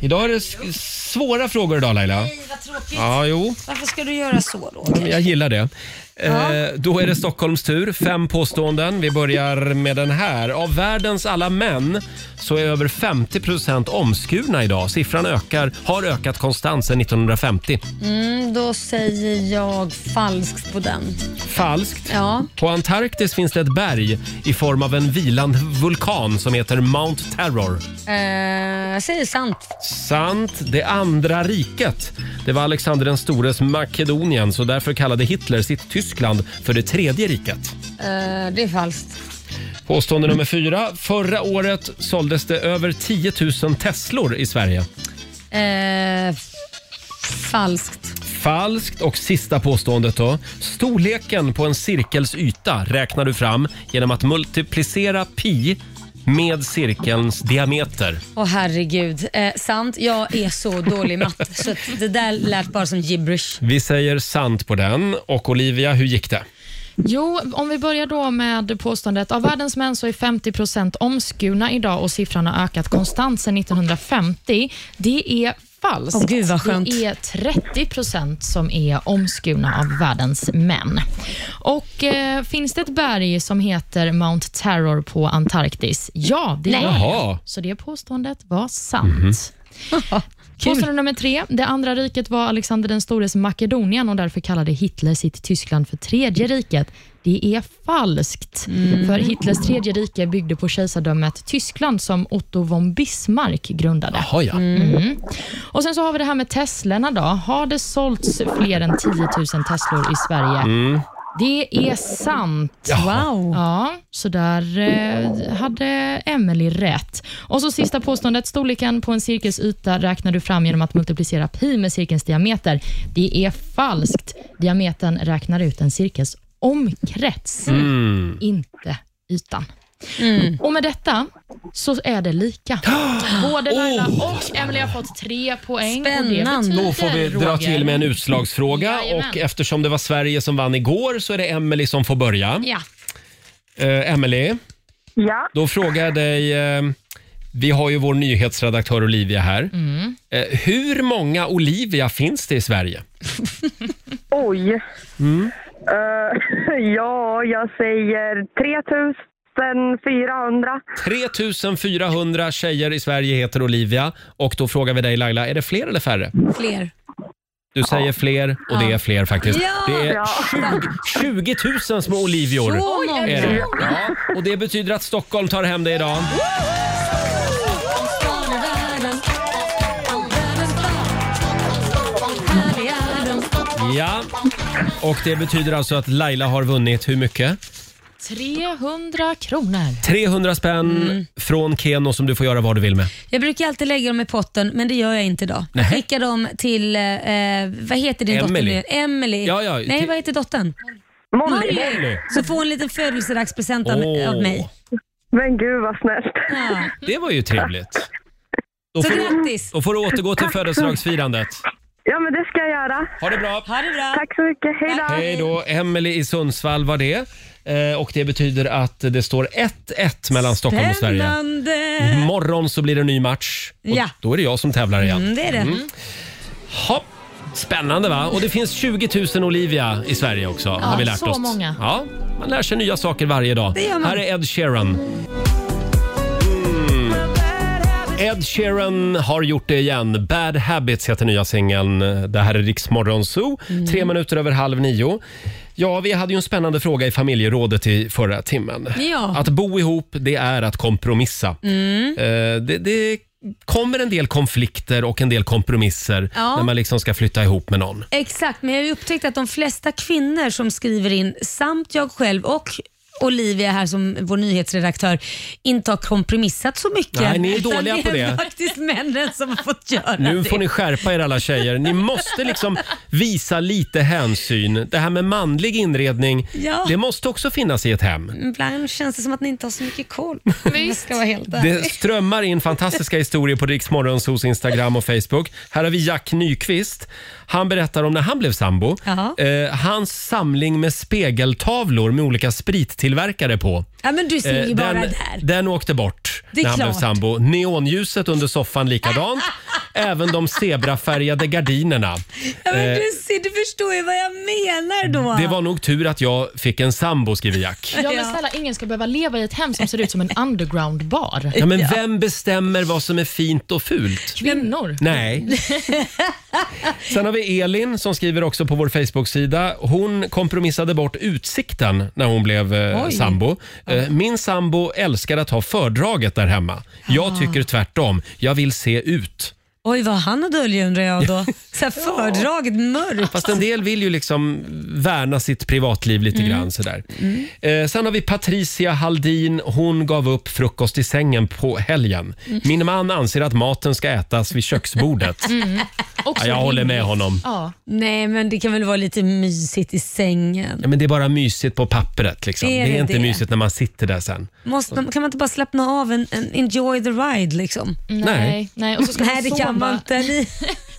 Idag är det s- svåra frågor idag Laila.
Vad tråkigt.
Ja, jo.
Varför ska du göra så då?
Ja, men Jag gillar det. Eh, då är det Stockholms tur. Fem påståenden. Vi börjar med den här. Av världens alla män så är över 50 procent omskurna idag. Siffran ökar, har ökat konstant sedan 1950.
Mm, då säger jag falskt på den.
Falskt.
Ja.
På Antarktis finns det ett berg i form av en vilande vulkan som heter Mount Terror.
Eh, jag säger sant.
Sant. Det andra riket. Det var Alexander den stores Makedonien så därför kallade Hitler sitt Tyskland för det tredje riket.
Eh, det är falskt.
Påstående nummer fyra. Förra året såldes det över 10 000 Teslor i Sverige.
Eh, falskt.
Falskt. Och sista påståendet då. Storleken på en cirkels yta räknar du fram genom att multiplicera pi med cirkelns diameter.
Åh herregud. Eh, sant, jag är så dålig i matte så att det där lät bara som gibberish.
Vi säger sant på den. Och Olivia, hur gick det?
Jo, om vi börjar då med påståendet av världens män så är 50 procent omskurna idag och siffran har ökat konstant sedan 1950. Det är falskt.
Åh, gud, vad skönt.
Det är 30 procent som är omskurna av världens män. Och eh, Finns det ett berg som heter Mount Terror på Antarktis? Ja, det
Nej.
gör
Jaha. Mhm.
det. Så det påståendet var sant. Påstående nummer tre. Det andra riket var Alexander den stores Makedonien och därför kallade Hitler sitt Tyskland för tredje riket. Det är falskt,
Mm.
för Hitlers tredje rike byggde på kejsardömet Tyskland som Otto von Bismarck grundade.
Jaha, ja.
Mm. Och Sen så har vi det här med Teslorna. Då. Har det sålts fler än 10 000 Teslor i Sverige?
Mm.
Det är sant.
Jaha.
Wow.
Ja, så där eh, hade Emily rätt. Och så sista påståendet. Storleken på en cirkels yta räknar du fram genom att multiplicera pi med cirkelns diameter. Det är falskt. Diametern räknar ut en cirkels omkrets,
Mm.
inte ytan. Och med detta så är det lika. Både Laila och Emily har fått tre poäng. Och det betyder,
Oh. Då får vi dra
Roger-
till med en utslagsfråga
Jajamän.
och eftersom det var Sverige som vann igår så är det Emelie som får börja.
Ja.
Eh, Emelie,
Ja.
då frågar jag dig, eh, vi har ju vår nyhetsredaktör Olivia här.
Mm.
Eh, hur många Olivia finns det i Sverige?
Oj. Eh, ja, jag säger 3400.
3400 tjejer i Sverige heter Olivia och då frågar vi dig Laila, är det fler eller färre?
Fler.
Du säger fler och det är fler faktiskt.
Ja!
Det är
Ja.
20, 20 000 små Olivior.
Så många.
är det. Ja, och det betyder att Stockholm tar hem det idag. Ja, och det betyder alltså att Laila har vunnit hur mycket?
300 kronor.
300 spänn
Mm.
från Keno som du får göra vad du vill med.
Jag brukar alltid lägga dem i potten, men det gör jag inte idag. Jag
Nej.
skickar dem till, eh, vad heter din dotter
Emily.
nu? Emily.
Ja, ja,
Nej,
till-
vad heter dottern?
Molly.
Molly.
Så får hon en liten födelsedagspresent av-
Åh.
av mig.
Men gud vad snällt.
Det var ju trevligt. Då
Så
får,
grattis.
då får du återgå till födelsedagsfirandet.
Ja, men det ska jag göra.
Ha det bra.
Ha det bra.
Tack så mycket. Hej då.
Hej då. Emelie i Sundsvall var det. Eh, och det betyder att det står 1-1 mellan Stockholm och Sverige.
Spännande.
Eh.
Imorgon så blir det en ny match. Och
Ja.
Då är det jag som tävlar igen.
Mm, det är det.
Ha. Spännande va? Och det finns 20 000 Olivia i Sverige också.
Ja,
har vi lärt
så
oss.
många.
Ja, man lär sig nya saker varje dag.
Det gör man.
Här är Ed Sheeran. Mm. Ed Sheeran har gjort det igen. Bad Habits heter nya singeln. Det här är Rix Morgon Zoo.
Mm.
Tre minuter över halv nio. Ja, vi hade ju en spännande fråga i familjerådet i förra timmen.
Ja.
Att bo ihop, det är att kompromissa.
Mm.
Eh, det, det kommer en del konflikter och en del kompromisser
Ja.
när man liksom ska flytta ihop med någon.
Exakt, men jag har ju upptäckt att de flesta kvinnor som skriver in, samt jag själv och Olivia här som vår nyhetsredaktör, inte har kompromissat så mycket.
Nej, ni är
Utan
dåliga på
Det är
det.
faktiskt männen som har fått göra
Nu
det.
får ni skärpa er alla tjejer. Ni måste liksom visa lite hänsyn. Det här med manlig inredning,
Ja.
det måste också finnas i ett hem.
Ibland känns det som att ni inte har så mycket koll. Om jag ska vara helt
Det
ärlig.
strömmar in fantastiska historier på Rix Morgonzos Instagram och Facebook. Här har vi Jack Nyqvist. Han berättar om när han blev sambo.
Jaha.
Eh, hans samling med spegeltavlor med olika sprittillverkare på.
Ja, men du ser ju
Eh,
bara
den,
där.
den åkte bort
Det är
när han
klart.
blev sambo. Neonljuset under soffan likadant. Även de zebrafärgade gardinerna.
Ja, men
Eh,
du, ser, du förstår ju vad jag menar då.
det var nog tur att jag fick en sambo, skriver Jack.
Ja, men snälla, ingen ska behöva leva i ett hem som ser ut som en undergroundbar.
Ja, men vem bestämmer vad som är fint och fult?
Kvinnor.
Nej. Sen har vi Elin som skriver också på vår Facebook-sida. Hon kompromissade bort utsikten när hon blev eh,
Oj.
sambo. Eh, min sambo älskar att ha fördraget där hemma.
Ah.
Jag tycker tvärtom. Jag vill se ut.
Oj, vad han har dölja undrar jag då. Så här fördraget mörkt.
Fast en del vill ju liksom värna sitt privatliv lite
Mm.
grann sådär. Eh, sen har vi Patricia Haldin. Hon gav upp frukost i sängen på helgen.
Mm.
Min man anser att maten ska ätas vid köksbordet.
Mm. Också
Ja, jag håller med
rimligt.
honom.
Ja.
Nej, men det kan väl vara lite mysigt i sängen.
Ja, men det är bara mysigt på pappret. Liksom.
Är
Det,
det
är inte
det?
mysigt när man sitter där sen.
Måste, man- kan man inte bara slappna av en, en enjoy the ride liksom?
Nej.
Nej, och så Mm, ska
Nej
man
det
sova.
kan man inte. Ni...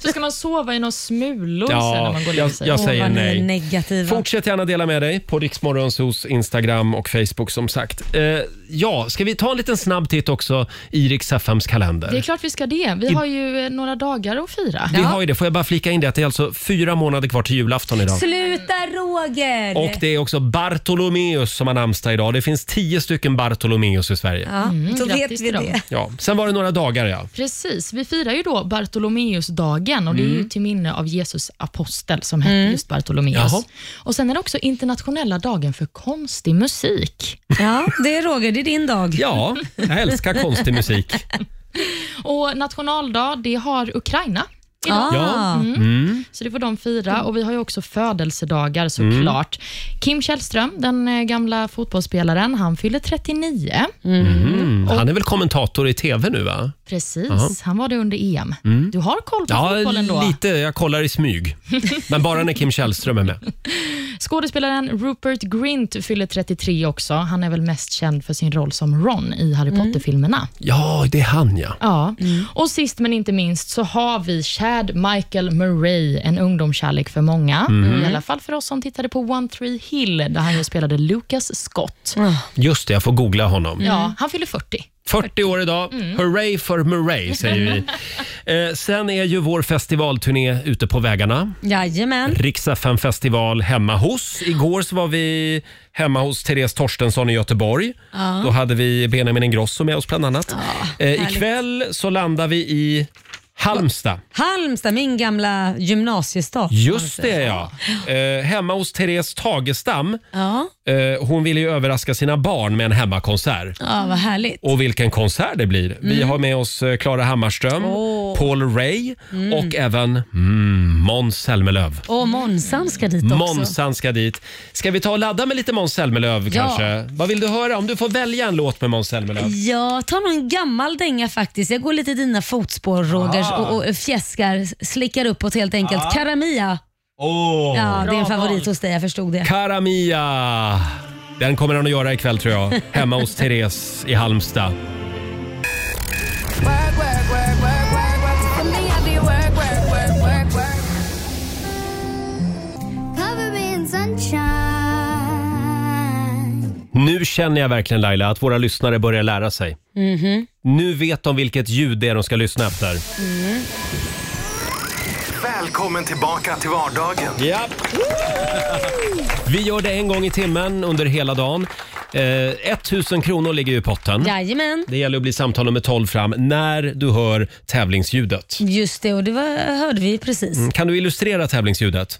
Så ska man sova i några smulor sen när man går och
jag,
lägger sig.
jag säger
vad ni är
nej.
negativa.
Fortsätt gärna dela med dig på Riksmorgonsos Instagram och Facebook som sagt. Eh, ja, ska vi ta en liten snabb titt också i Rix FMs kalender?
Det är klart vi ska det. Vi
I-
har ju eh, några dagar att fira.
Vi har ju det. Får jag bara flika in det att det är alltså fyra månader kvar till julafton idag.
Sluta Roger!
Och det är också Bartolomeus som har namnsdag idag. Det finns tio stycken Bartolomeus i Sverige.
Ja, då vet
Mm, grattis
vi
till dem.
det.
Ja, sen var det några dagar ja.
Precis. Vi firar ju då Bartolomeusdagen och det är ju
Mm.
till minne av Jesus apostel som hette
Mm.
just Bartolomeus.
Jaha.
Och Sen är det också internationella dagen för konstig musik.
Ja, det är Roger. Det är din dag.
Ja, jag älskar konstig musik.
Och Nationaldag, det har Ukraina idag.
Ja.
Ah,
Mm.
Mm.
Så det får de fira. Och Vi har ju också födelsedagar såklart. Kim Källström, den eh, gamla fotbollsspelaren, han fyller 39.
Mm. Han är väl kommentator i tv nu va?
Precis,
Jaha.
han var det under EM.
Mm.
Du har koll på
Ja,
fotbollen då?
lite. Jag kollar i smyg. Men bara när Kim Källström är med.
Skådespelaren Rupert Grint fyller 33 också. Han är väl mest känd för sin roll som Ron i
Mm.
Harry Potter-filmerna.
Ja, det är han ja.
Ja.
Mm.
Och sist men inte minst så har vi Chad Michael Murray, en ungdomskärlek för många.
Mm.
I alla fall för oss som tittade på One Tree Hill, där han ju spelade Lucas Scott.
Mm. Just det, jag får googla honom.
Ja, Mm. han fyller 40.
40 år idag. Hurray för Murray, säger vi. Eh, sen är ju vår festivalturné ute på vägarna.
Jajamän.
Riksaffären festival hemma hos. Igår så var vi hemma hos Therese Torstensson i Göteborg.
Ja.
Då hade vi Benjamin Ingrosso med oss bland annat. eh,
härligt.
ikväll så landar vi i Halmstad.
Halmstad, min gamla gymnasiestad.
Just det ja. Eh, hemma hos Therese Tagestam.
Ja,
Eh, hon ville ju överraska sina barn med en hemmakonsert.
ja vad härligt.
Och vilken konsert det blir. Vi
Mm.
har med oss eh, Klara Hammarström,
Åh.
Paul Ray
Mm.
och även mm, Måns Zelmerlöw.
Och Månsan ska dit också.
Månsan ska dit. Ska vi ta och ladda med lite Måns Zelmerlöw
Ja.
kanske? Vad vill du höra? Om du får välja en låt med Måns Zelmerlöw.
Ja, ta någon gammal dänga faktiskt. Jag går lite i dina fotspår Roger
Ah.
och, och fjäskar, slickar uppåt helt enkelt.
Ah.
Karamia.
Åh!
Ja, det är en favorit hos dig, jag förstod det.
Karamia! Den kommer han att göra ikväll tror jag. Hemma hos Therese i Halmstad. Nu känner jag verkligen Laila att våra lyssnare börjar lära sig.
Mhm.
Nu vet de vilket ljud det är de ska lyssna efter.
Mm.
Välkommen tillbaka till vardagen.
Ja. Vi gör det en gång i timmen under hela dagen. Eh, 1000 kronor ligger ju i potten.
Jajamän.
Det gäller att bli samtal nummer 12 fram när du hör tävlingsljudet.
Just det, och det var, hörde vi precis.
Mm, Kan du illustrera tävlingsljudet?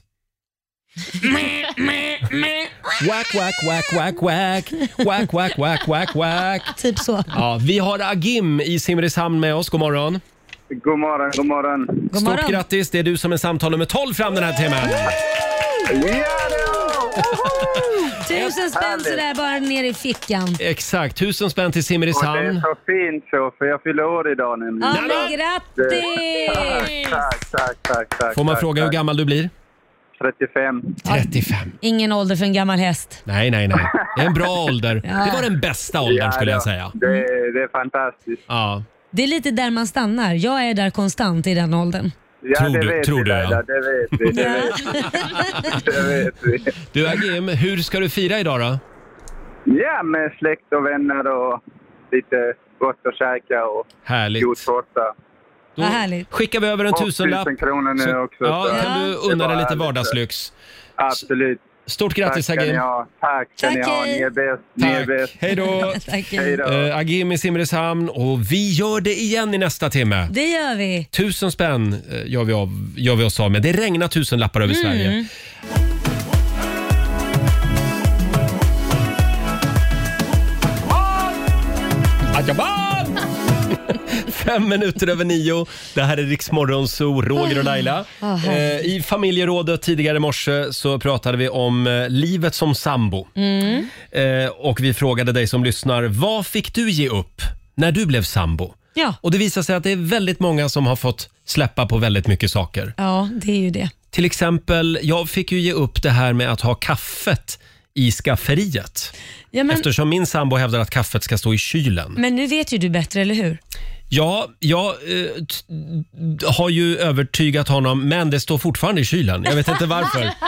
Wack, wack, wack, wack, wack. Wack, wack, wack, wack, wack.
Typ så.
Ja, vi har Agim i Simrishamn med oss. God morgon.
God morgon, god morgon.
Stort grattis, det är du som är samtal nummer 12 fram den här timmen.
Tusen spänn sådär bara ner i fickan.
Exakt, tusen spänn till
Och det är
Simrishamn.
så fint så, för jag fyller år idag nämligen.
Ja, men grattis!
Tack, tack, tack, tack.
Får man
tack,
fråga hur
tack.
gammal du blir?
35.
35.
Ingen ålder för en gammal häst.
Nej, nej, nej. Det är en bra ålder.
Ja.
Det var den bästa åldern skulle jag säga.
Det, är- det är fantastiskt.
Ja.
Det är lite där man stannar. Jag är där konstant i den åldern.
Ja,
Tror
det
du-
vet
tror
vi,
du, ja.
Laila, det vet vi. Det vet vi. Det vet vi.
Du Agim, hur ska du fira idag då?
Ja, med släkt och vänner och lite gott att käka och
Härligt.
god tårta.
Då skickar vi över en
Och
tusenlapp.
1000 kronor nu
Så-
också,
Ja,
så
kan
det
du
var
unna dig lite
härligt.
vardagslyx.
Absolut.
Stort grattis
Tack ska ni
Agim.
ha. Tack ska ni ha. Ni är bäst. Ni är bäst.
Hej då.
Hej då.
Eh, Agim i Simrishamn och vi gör det igen i nästa timme.
Det gör vi.
Tusen spänn eh, gör vi, av, gör vi oss av med. Det regnar tusen lappar över Sverige.
Mm.
Ajaban! Fem minuter över nio. Det här är Rix Morgon Zoo, Roger och Laila.
Ah,
Eh,
härligt.
I familjerådet tidigare i morse så pratade vi om eh, livet som sambo.
Mm.
Eh, och vi frågade dig som lyssnar, vad fick du ge upp när du blev sambo?
Ja.
Och det visar sig att det är väldigt många som har fått släppa på väldigt mycket saker.
Ja, det är ju det.
Till exempel, jag fick ju ge upp det här med att ha kaffet i skafferiet.
Ja, men,
Eftersom min sambo hävdar att kaffet ska stå i kylen.
men nu vet ju du bättre, eller hur?
Ja, jag eh, t- har ju övertygat honom, men det står fortfarande i kylen. Jag vet inte varför.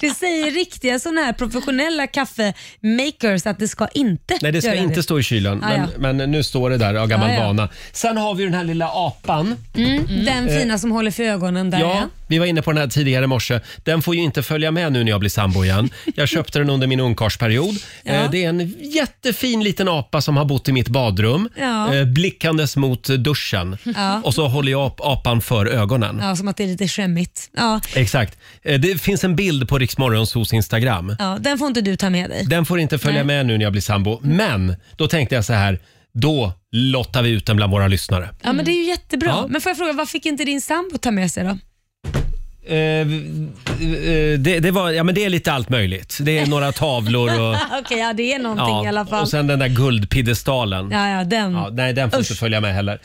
Det säger riktiga sådana här professionella kaffemakers att det ska inte
Nej, det ska
göra
inte stå i kylen.
Ah,
Men, men nu står det där av gammal
Ah, ja.
vana. Sen har vi ju den här lilla apan.
Mm, Den
Eh,
fina som håller för ögonen där
Ja, vi var inne på den här tidigare i morse. Den får ju inte följa med nu när jag blir sambo igen. Jag köpte den under min ungkarlsperiod. Eh, Det är en jättefin liten apa som har bott i mitt badrum,
Ja.
eh, blickandes mot duschen.
Ja.
Och så håller jag ap- apan för ögonen.
Ja, som att det är lite skämmigt. Ja,
Exakt. Eh, Det finns en bild på Riksmorgons hos Instagram.
ja, den får inte du ta med dig.
Den får inte följa
Nej.
med nu när jag blir sambo. Men då tänkte jag så här, då lottar vi ut den bland våra lyssnare.
Mm. Ja, men det är ju jättebra.
Ja.
Men får jag fråga, vad fick inte din sambo ta med sig då?
Eh, eh, det, det, var, ja, men det är lite allt möjligt. Det är några tavlor och...
Ah, Okej, ja, det är någonting i alla fall.
Och sen den där guldpiedestalen.
ja, ja, den.
Ja, nej, den får inte följa med heller.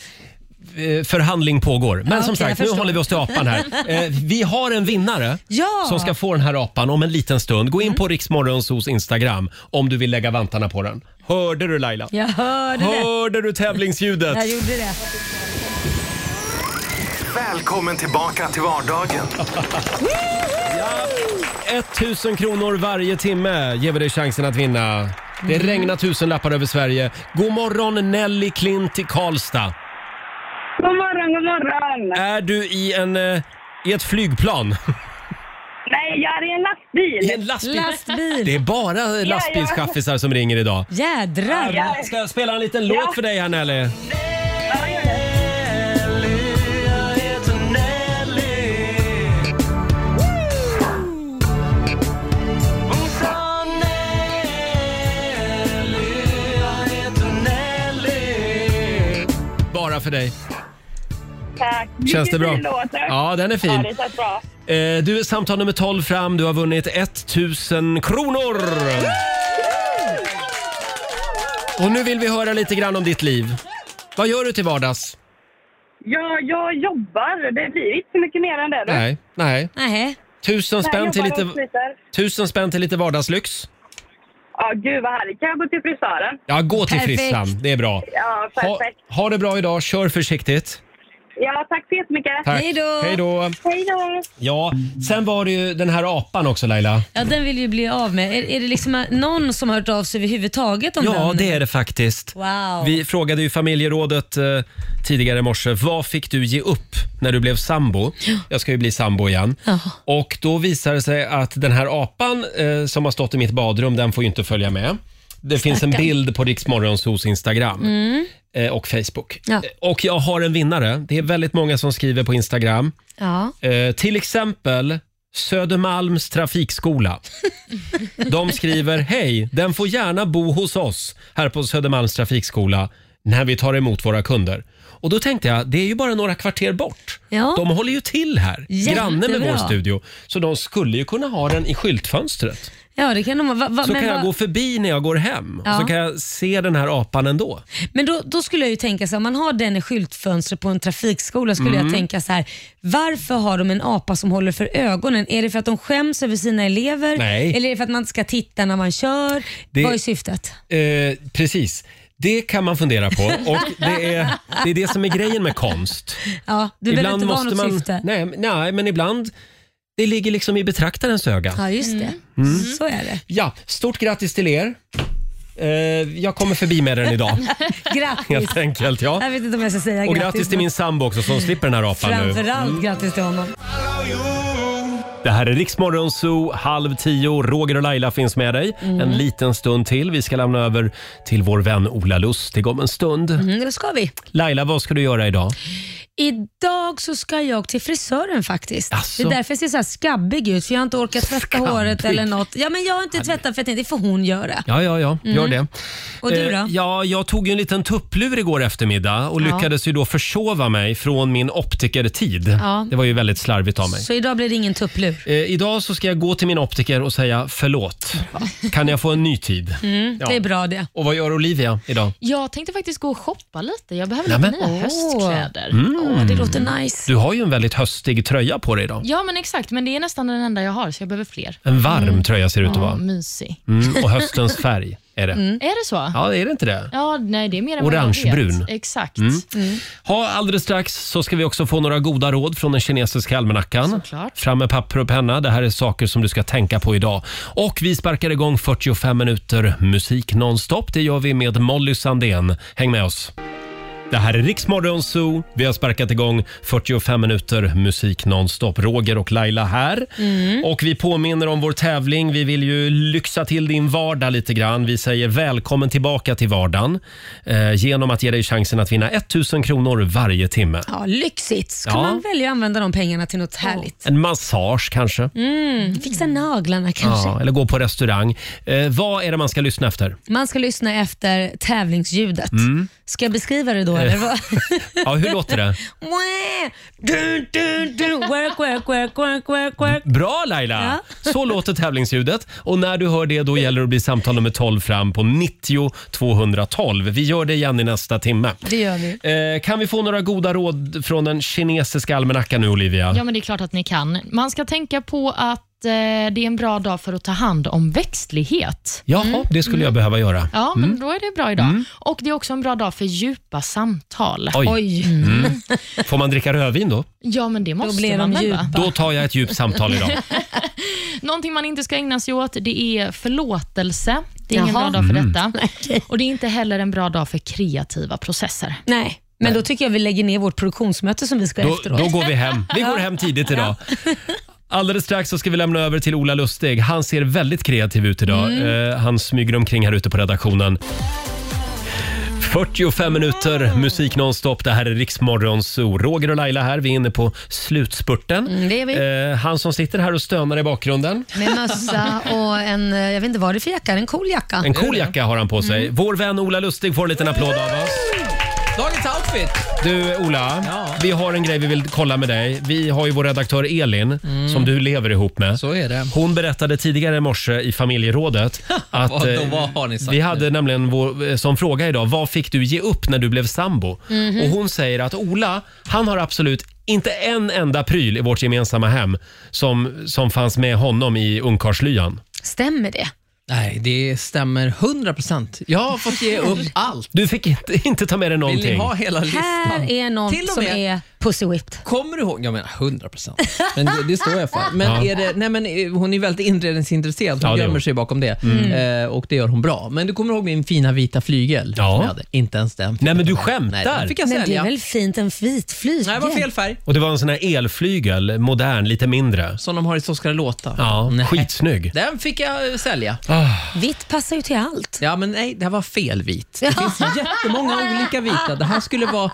eh, förhandling pågår. Men
Ja,
som
okej, jag
sagt, nu
förstår.
håller vi oss till apan här. Eh, vi har en vinnare
Ja! Mm.
som ska få den här apan om en liten stund. Gå in på Riksmorgonsos Instagram om du vill lägga vantarna på den. Hörde du Laila?
Jag hörde det.
Hörde du tävlingsljudet?
Jag gjorde det.
Välkommen tillbaka till vardagen.
1000 kronor varje timme ger vi dig chansen att vinna. Det
Mm.
regnar tusen lappar över Sverige. God morgon Nelly Klint i Karlstad.
God morgon, god morgon!
Är du i, en, eh, i ett flygplan?
Nej, jag är i en lastbil.
I en lastbil? Det är bara lastbilschaffisar som ringer idag.
Jädrar!
Jag ska jag spela en liten låt för dig här Nelly. Bara för dig.
Tack.
Känns det bra?
Vilken fin låt.
Ja, den är fin.
Ja, det känns bra.
Eh, Du är samtal nummer 12 fram. Du har vunnit 1000 kronor! Och nu vill vi höra lite grann om ditt liv. Vad gör du till vardags?
Ja, jag jobbar. Det blir inte så mycket mer än det. du.
Nej, nej.
Nej.
Tusen spänn till
Jag jobbar
lite,
och sliter.
tusen spänn till lite vardagslyx.
Ja, gud vad härligt. Kan jag gå till frisören?
Ja, gå till
Perfekt.
frissan. Det är bra.
Ja,
Ha,
perfekt.
ha det bra idag. Kör försiktigt.
Ja, tack så jättemycket.
Tack. Hej då. Hej då.
Hej då.
Ja, sen var det ju den här apan också Laila.
Ja, den vill ju bli av med. Är, är det liksom någon som har hört av sig överhuvudtaget om
Ja,
den?
det är det faktiskt.
Wow.
Vi frågade ju familjerådet eh, tidigare i morse. Vad fick du ge upp när du blev sambo? Jag ska ju bli sambo igen. Och då visar det sig att den här apan eh, som har stått i mitt badrum, den får ju inte följa med. Det finns en
Stackarn.
bild på Riksmorgonsos Instagram
Mm.
eh, och Facebook.
Ja.
Och jag har en vinnare. Det är väldigt många som skriver på Instagram.
Ja.
Eh, till exempel Södermalms trafikskola. De skriver “Hej, den får gärna bo hos oss här på Södermalms trafikskola när vi tar emot våra kunder”. Och då tänkte jag, det är ju bara några kvarter bort.
Ja.
De håller ju till här,
Jättebra.
granne med vår studio. Så de skulle ju kunna ha den i skyltfönstret.
Ja, det kan de vara. Va, va,
Så
men
kan jag
vad-
gå förbi när jag går hem och
Ja.
så kan jag se den här apan ändå.
Men då, då skulle jag ju tänka så här, om man har den i skyltfönstret på en trafikskola skulle
Mm.
jag tänka så här, varför har de en apa som håller för ögonen? Är det för att de skäms över sina elever?
Nej.
Eller är det för att man inte ska titta när man kör?
Det-
Vad är syftet?
Eh, precis. Det kan man fundera på och det är, det är det som är grejen med konst.
Ja, du behöver inte vara något syfte.
Nej, men- nej, men ibland det ligger liksom i betraktarens öga.
Ja, just det.
Mm.
Så är det.
Ja, stort grattis till er. Eh, jag kommer förbi med den idag,
grattis.
helt enkelt. Ja.
Jag vet inte om jag ska säga
Och grattis till min sambo också som slipper den här apan nu. Mm.
Framförallt grattis till honom.
Det här är Riksmorgon Zoo, halv tio. Roger och Laila finns med dig
Mm.
en liten stund till. Vi ska lämna över till vår vän Ola Lustig om en stund.
Mm, det ska vi.
Laila, vad ska du göra idag?
Idag så ska jag till frisören faktiskt.
Asså?
Det är därför jag ser så här skabbig ut, för jag har inte orkat tvätta håret eller något. Ja, men jag har inte tvättat för jag tänkte, det får hon göra.
Ja, ja, ja. Gör
Mm.
det.
Och du
Eh,
då?
Ja, jag tog ju en liten tupplur igår eftermiddag och
Ja.
lyckades ju då försova mig från min optikertid.
Ja.
Det var ju väldigt slarvigt av mig.
Så idag blir det ingen tupplur.
Eh, idag så ska jag gå till min optiker och säga förlåt. Kan jag få en ny tid?
Mm,
Ja.
det är
bra det.
Och vad gör Olivia idag?
Jag tänkte faktiskt gå och shoppa lite. Jag behöver
Nämen.
lite nya höstkläder.
Mm.
Åh,
Du har ju en väldigt höstig tröja på dig idag.
Ja, men exakt. Men det är nästan den enda jag har, så jag behöver fler.
En varm
Mm.
tröja ser det ut att
Ja,
vara.
mysig.
Mm, och höstens färg är det.
Mm. Är det så?
Ja, är det inte det?
Ja, nej, det är mer än vad jag vet.
Orangebrun.
Exakt.
Mm. Ha, alldeles strax så ska vi också få några goda råd från den kinesiska almanackan. Fram med papper och penna. Det här är saker som du ska tänka på idag. Och vi sparkar igång 45 minuter musik nonstop. Det gör vi med Molly Sandén. Häng med oss. Det här är Riksmorgon Zoo. Vi har sparkat igång 45 minuter musik nonstop. Roger och Laila här.
Mm.
Och vi påminner om vår tävling. Vi vill ju lyxa till din vardag lite grann. Vi säger välkommen tillbaka till vardagen eh, genom att ge dig chansen att vinna 1000 kronor varje timme.
Ja, lyxigt. Ska
Ja.
man välja att använda de pengarna till något härligt?
En massage kanske.
Mm, fixa naglarna kanske.
Ja, eller gå på restaurang. Eh, vad är det man ska lyssna efter?
Man ska lyssna efter tävlingsljudet.
Mm. Eh.
Ska jag beskriva det då? eller vad?
Ja, hur låter det?
Mwah! Dun, dun, dun. Work, work, work, work, work, work.
Bra Laila! Så låter tävlingsljudet. Och när du hör det då gäller det att bli samtal nummer 12 fram på 90 212. Vi gör det igen i nästa timme.
Det gör vi.
Eh, kan vi få några goda råd från den kinesiska almanackan nu Olivia?
Ja, men det är klart att ni kan. Man ska tänka på att eh, det är en bra dag för att ta hand om växtlighet.
Jaha, det skulle jag behöva göra.
Ja, men
Mm.
då är det bra idag.
Mm.
Och Det är också en bra dag för djupa samtal.
Oj.
Mm.
Mm. Får man dricka rödvin då?
Ja, men det måste
blir de
man väl, va?
Då tar jag ett djupt samtal idag.
Någonting man inte ska ägna sig åt det är förlåtelse. Det är ingen
Jaha.
bra dag för
Mm.
detta. Och Det är inte heller en bra dag för kreativa processer.
Nej, men då tycker jag vi lägger ner vårt produktionsmöte som vi ska ha
Då,
efteråt.
då går vi hem. Vi går hem tidigt idag. Alldeles strax så ska vi lämna över till Ola Lustig. Han ser väldigt kreativ ut idag.
Mm.
Eh, han smyger omkring här ute på redaktionen. 45 minuter musik nonstop. Det här är Riksmorgon Zoo. Roger och Laila här. Vi är inne på slutspurten.
Mm, det är vi.
Eh, han som sitter här och stönar i bakgrunden.
Med mössa och en, eh, jag vet inte vad det är för jacka, en cool jacka.
En cool jacka har han på sig. Vår vän Ola Lustig får en liten applåd av oss.
Dagens outfit!
Du Ola, vi har en grej vi vill kolla med dig. Vi har ju vår redaktör Elin som du lever ihop med. Så är det. Hon berättade tidigare i morse i familjerådet att
Vad-
eh,
vad har ni sagt
vi
nu?
hade nämligen vår, eh, som fråga idag, vad fick du ge upp när du blev sambo?
Mhm.
Och hon säger att Ola, han har absolut inte en enda pryl i vårt gemensamma hem som, som fanns med honom i ungkarlslyan.
Stämmer det?
Nej, det stämmer 100 procent. Jag har fått ge upp allt.
Du fick inte, inte ta med dig någonting.
Vill ni ha hela listan?
Här är något
Till och
som
med-
är Pussy Whipped.
Kommer du ihåg? Jag menar 100 procent. Men det, det står jag för. Men,
Ja.
är det, nej, men eh, hon är väldigt inredningsintresserad. Hon
Ja, det är
gömmer
hon.
sig bakom det.
Mm.
Eh, och det gör hon bra. Men du kommer ihåg min fina vita flygel? Ja. Som jag hade. Inte ens den.
Nej men du skämtar!
Nej, den fick jag
Men det
sälja.
är väl fint, en vit flygel?
Nej, det var fel färg.
Och det var en sån här elflygel, modern, lite mindre.
Som de har i Så ska det låta.
Ja, skitsnygg.
Den fick jag eh, sälja.
Vitt passar ju till allt.
Ja, men nej, det här var fel vit. Det finns jättemånga olika vita. Det här skulle vara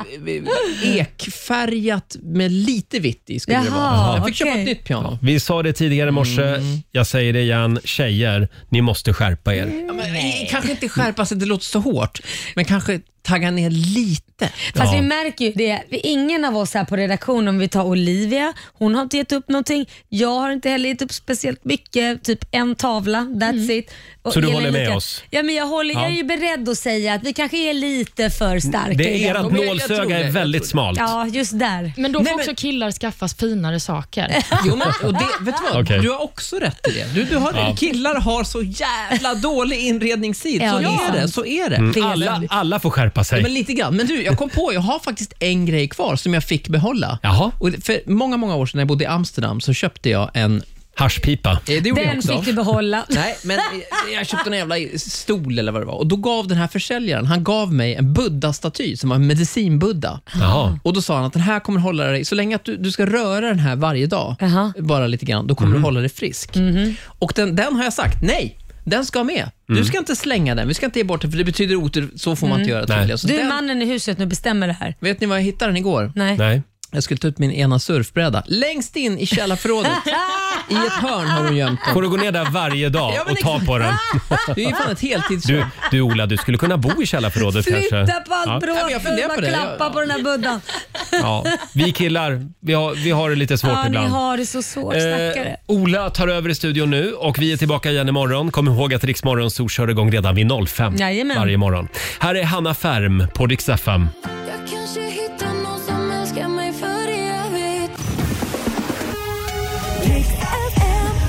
eh, ekfärgat med lite vitt i. Skulle det
Jaha,
vara. Jag fick köpa
okej.
ett nytt piano.
Vi sa det tidigare i morse,
Mm.
jag säger det igen. Tjejer, ni måste skärpa er.
Ja, men, eh, kanske inte skärpa sig, det låter så hårt, men kanske tagga ner lite.
Fast vi märker ju det, vi- ingen av oss här på redaktionen, om vi tar Olivia, hon har inte gett upp någonting. Jag har inte heller gett upp speciellt mycket, typ en tavla, that's it.
Så du
Elin
håller med
lika-
oss?
Ja, men jag, håller, jag är ju beredd att säga att vi kanske är lite för starka.
Det är
ibland.
ert nålsöga är väldigt smalt.
Ja, just där.
Men då får också killar skaffas finare saker.
Jo, men, och det, vet du vad?
Okej.
Du har också rätt i det. Du, du har,
Ja.
Killar har så jävla dålig inredningstid.
Ja,
så,
det är
är det,
sant.
så är det.
Mm. Alla, alla får skärpa
Ja,
sig.
men lite grann. Men du, jag kom på, jag har faktiskt en grej kvar som jag fick behålla.
Jaha.
Och för många, många år sedan när jag bodde i Amsterdam så köpte jag en... eh,
Haschpipa.
Det gjorde jag
Den
också.
fick du behålla.
Nej, men eh, jag köpte en jävla stol eller vad det var. Och Då gav den här försäljaren han gav mig en buddha-staty som var en medicinbuddha.
Jaha.
Och Då sa han att den här kommer hålla dig, så länge att du, du ska röra den här varje dag, bara lite grann, då kommer du hålla dig frisk.
Mhm.
Och den, den har jag sagt, nej, den ska med. Du ska inte slänga den, vi ska inte ge bort den, för det betyder otur. Så får man inte
Mm.
göra tydligen. Så
Du är
den,
mannen i huset nu, bestämmer det här.
Vet ni var jag hittade den igår?
Nej.
Jag skulle ta ut min ena surfbräda. Längst in i källarförrådet, i ett hörn har hon gömt den.
Får du gå ner där varje dag
Ja, men
och ta på den?
Det är ju fan ett
Du,
heltidsjobb.
du Ola, du skulle kunna bo i källarförrådet kanske?
Flytta på
Ja.
allt bråk,
men jag funderar
man
på det.
klappar på den här buddhan.
Ja. Vi killar, vi har, vi har det lite svårt
Ja, ni
ibland.
har det så svårt,
Eh,
stackare.
Ola tar över i studion nu och vi är tillbaka igen imorgon. Kom ihåg att Riksmorgon så kör igång redan vid 05
Jajamän.
varje morgon. Här är Hanna Färm på Rix FM.
Jag kanske hittar någon som älskar mig för evigt.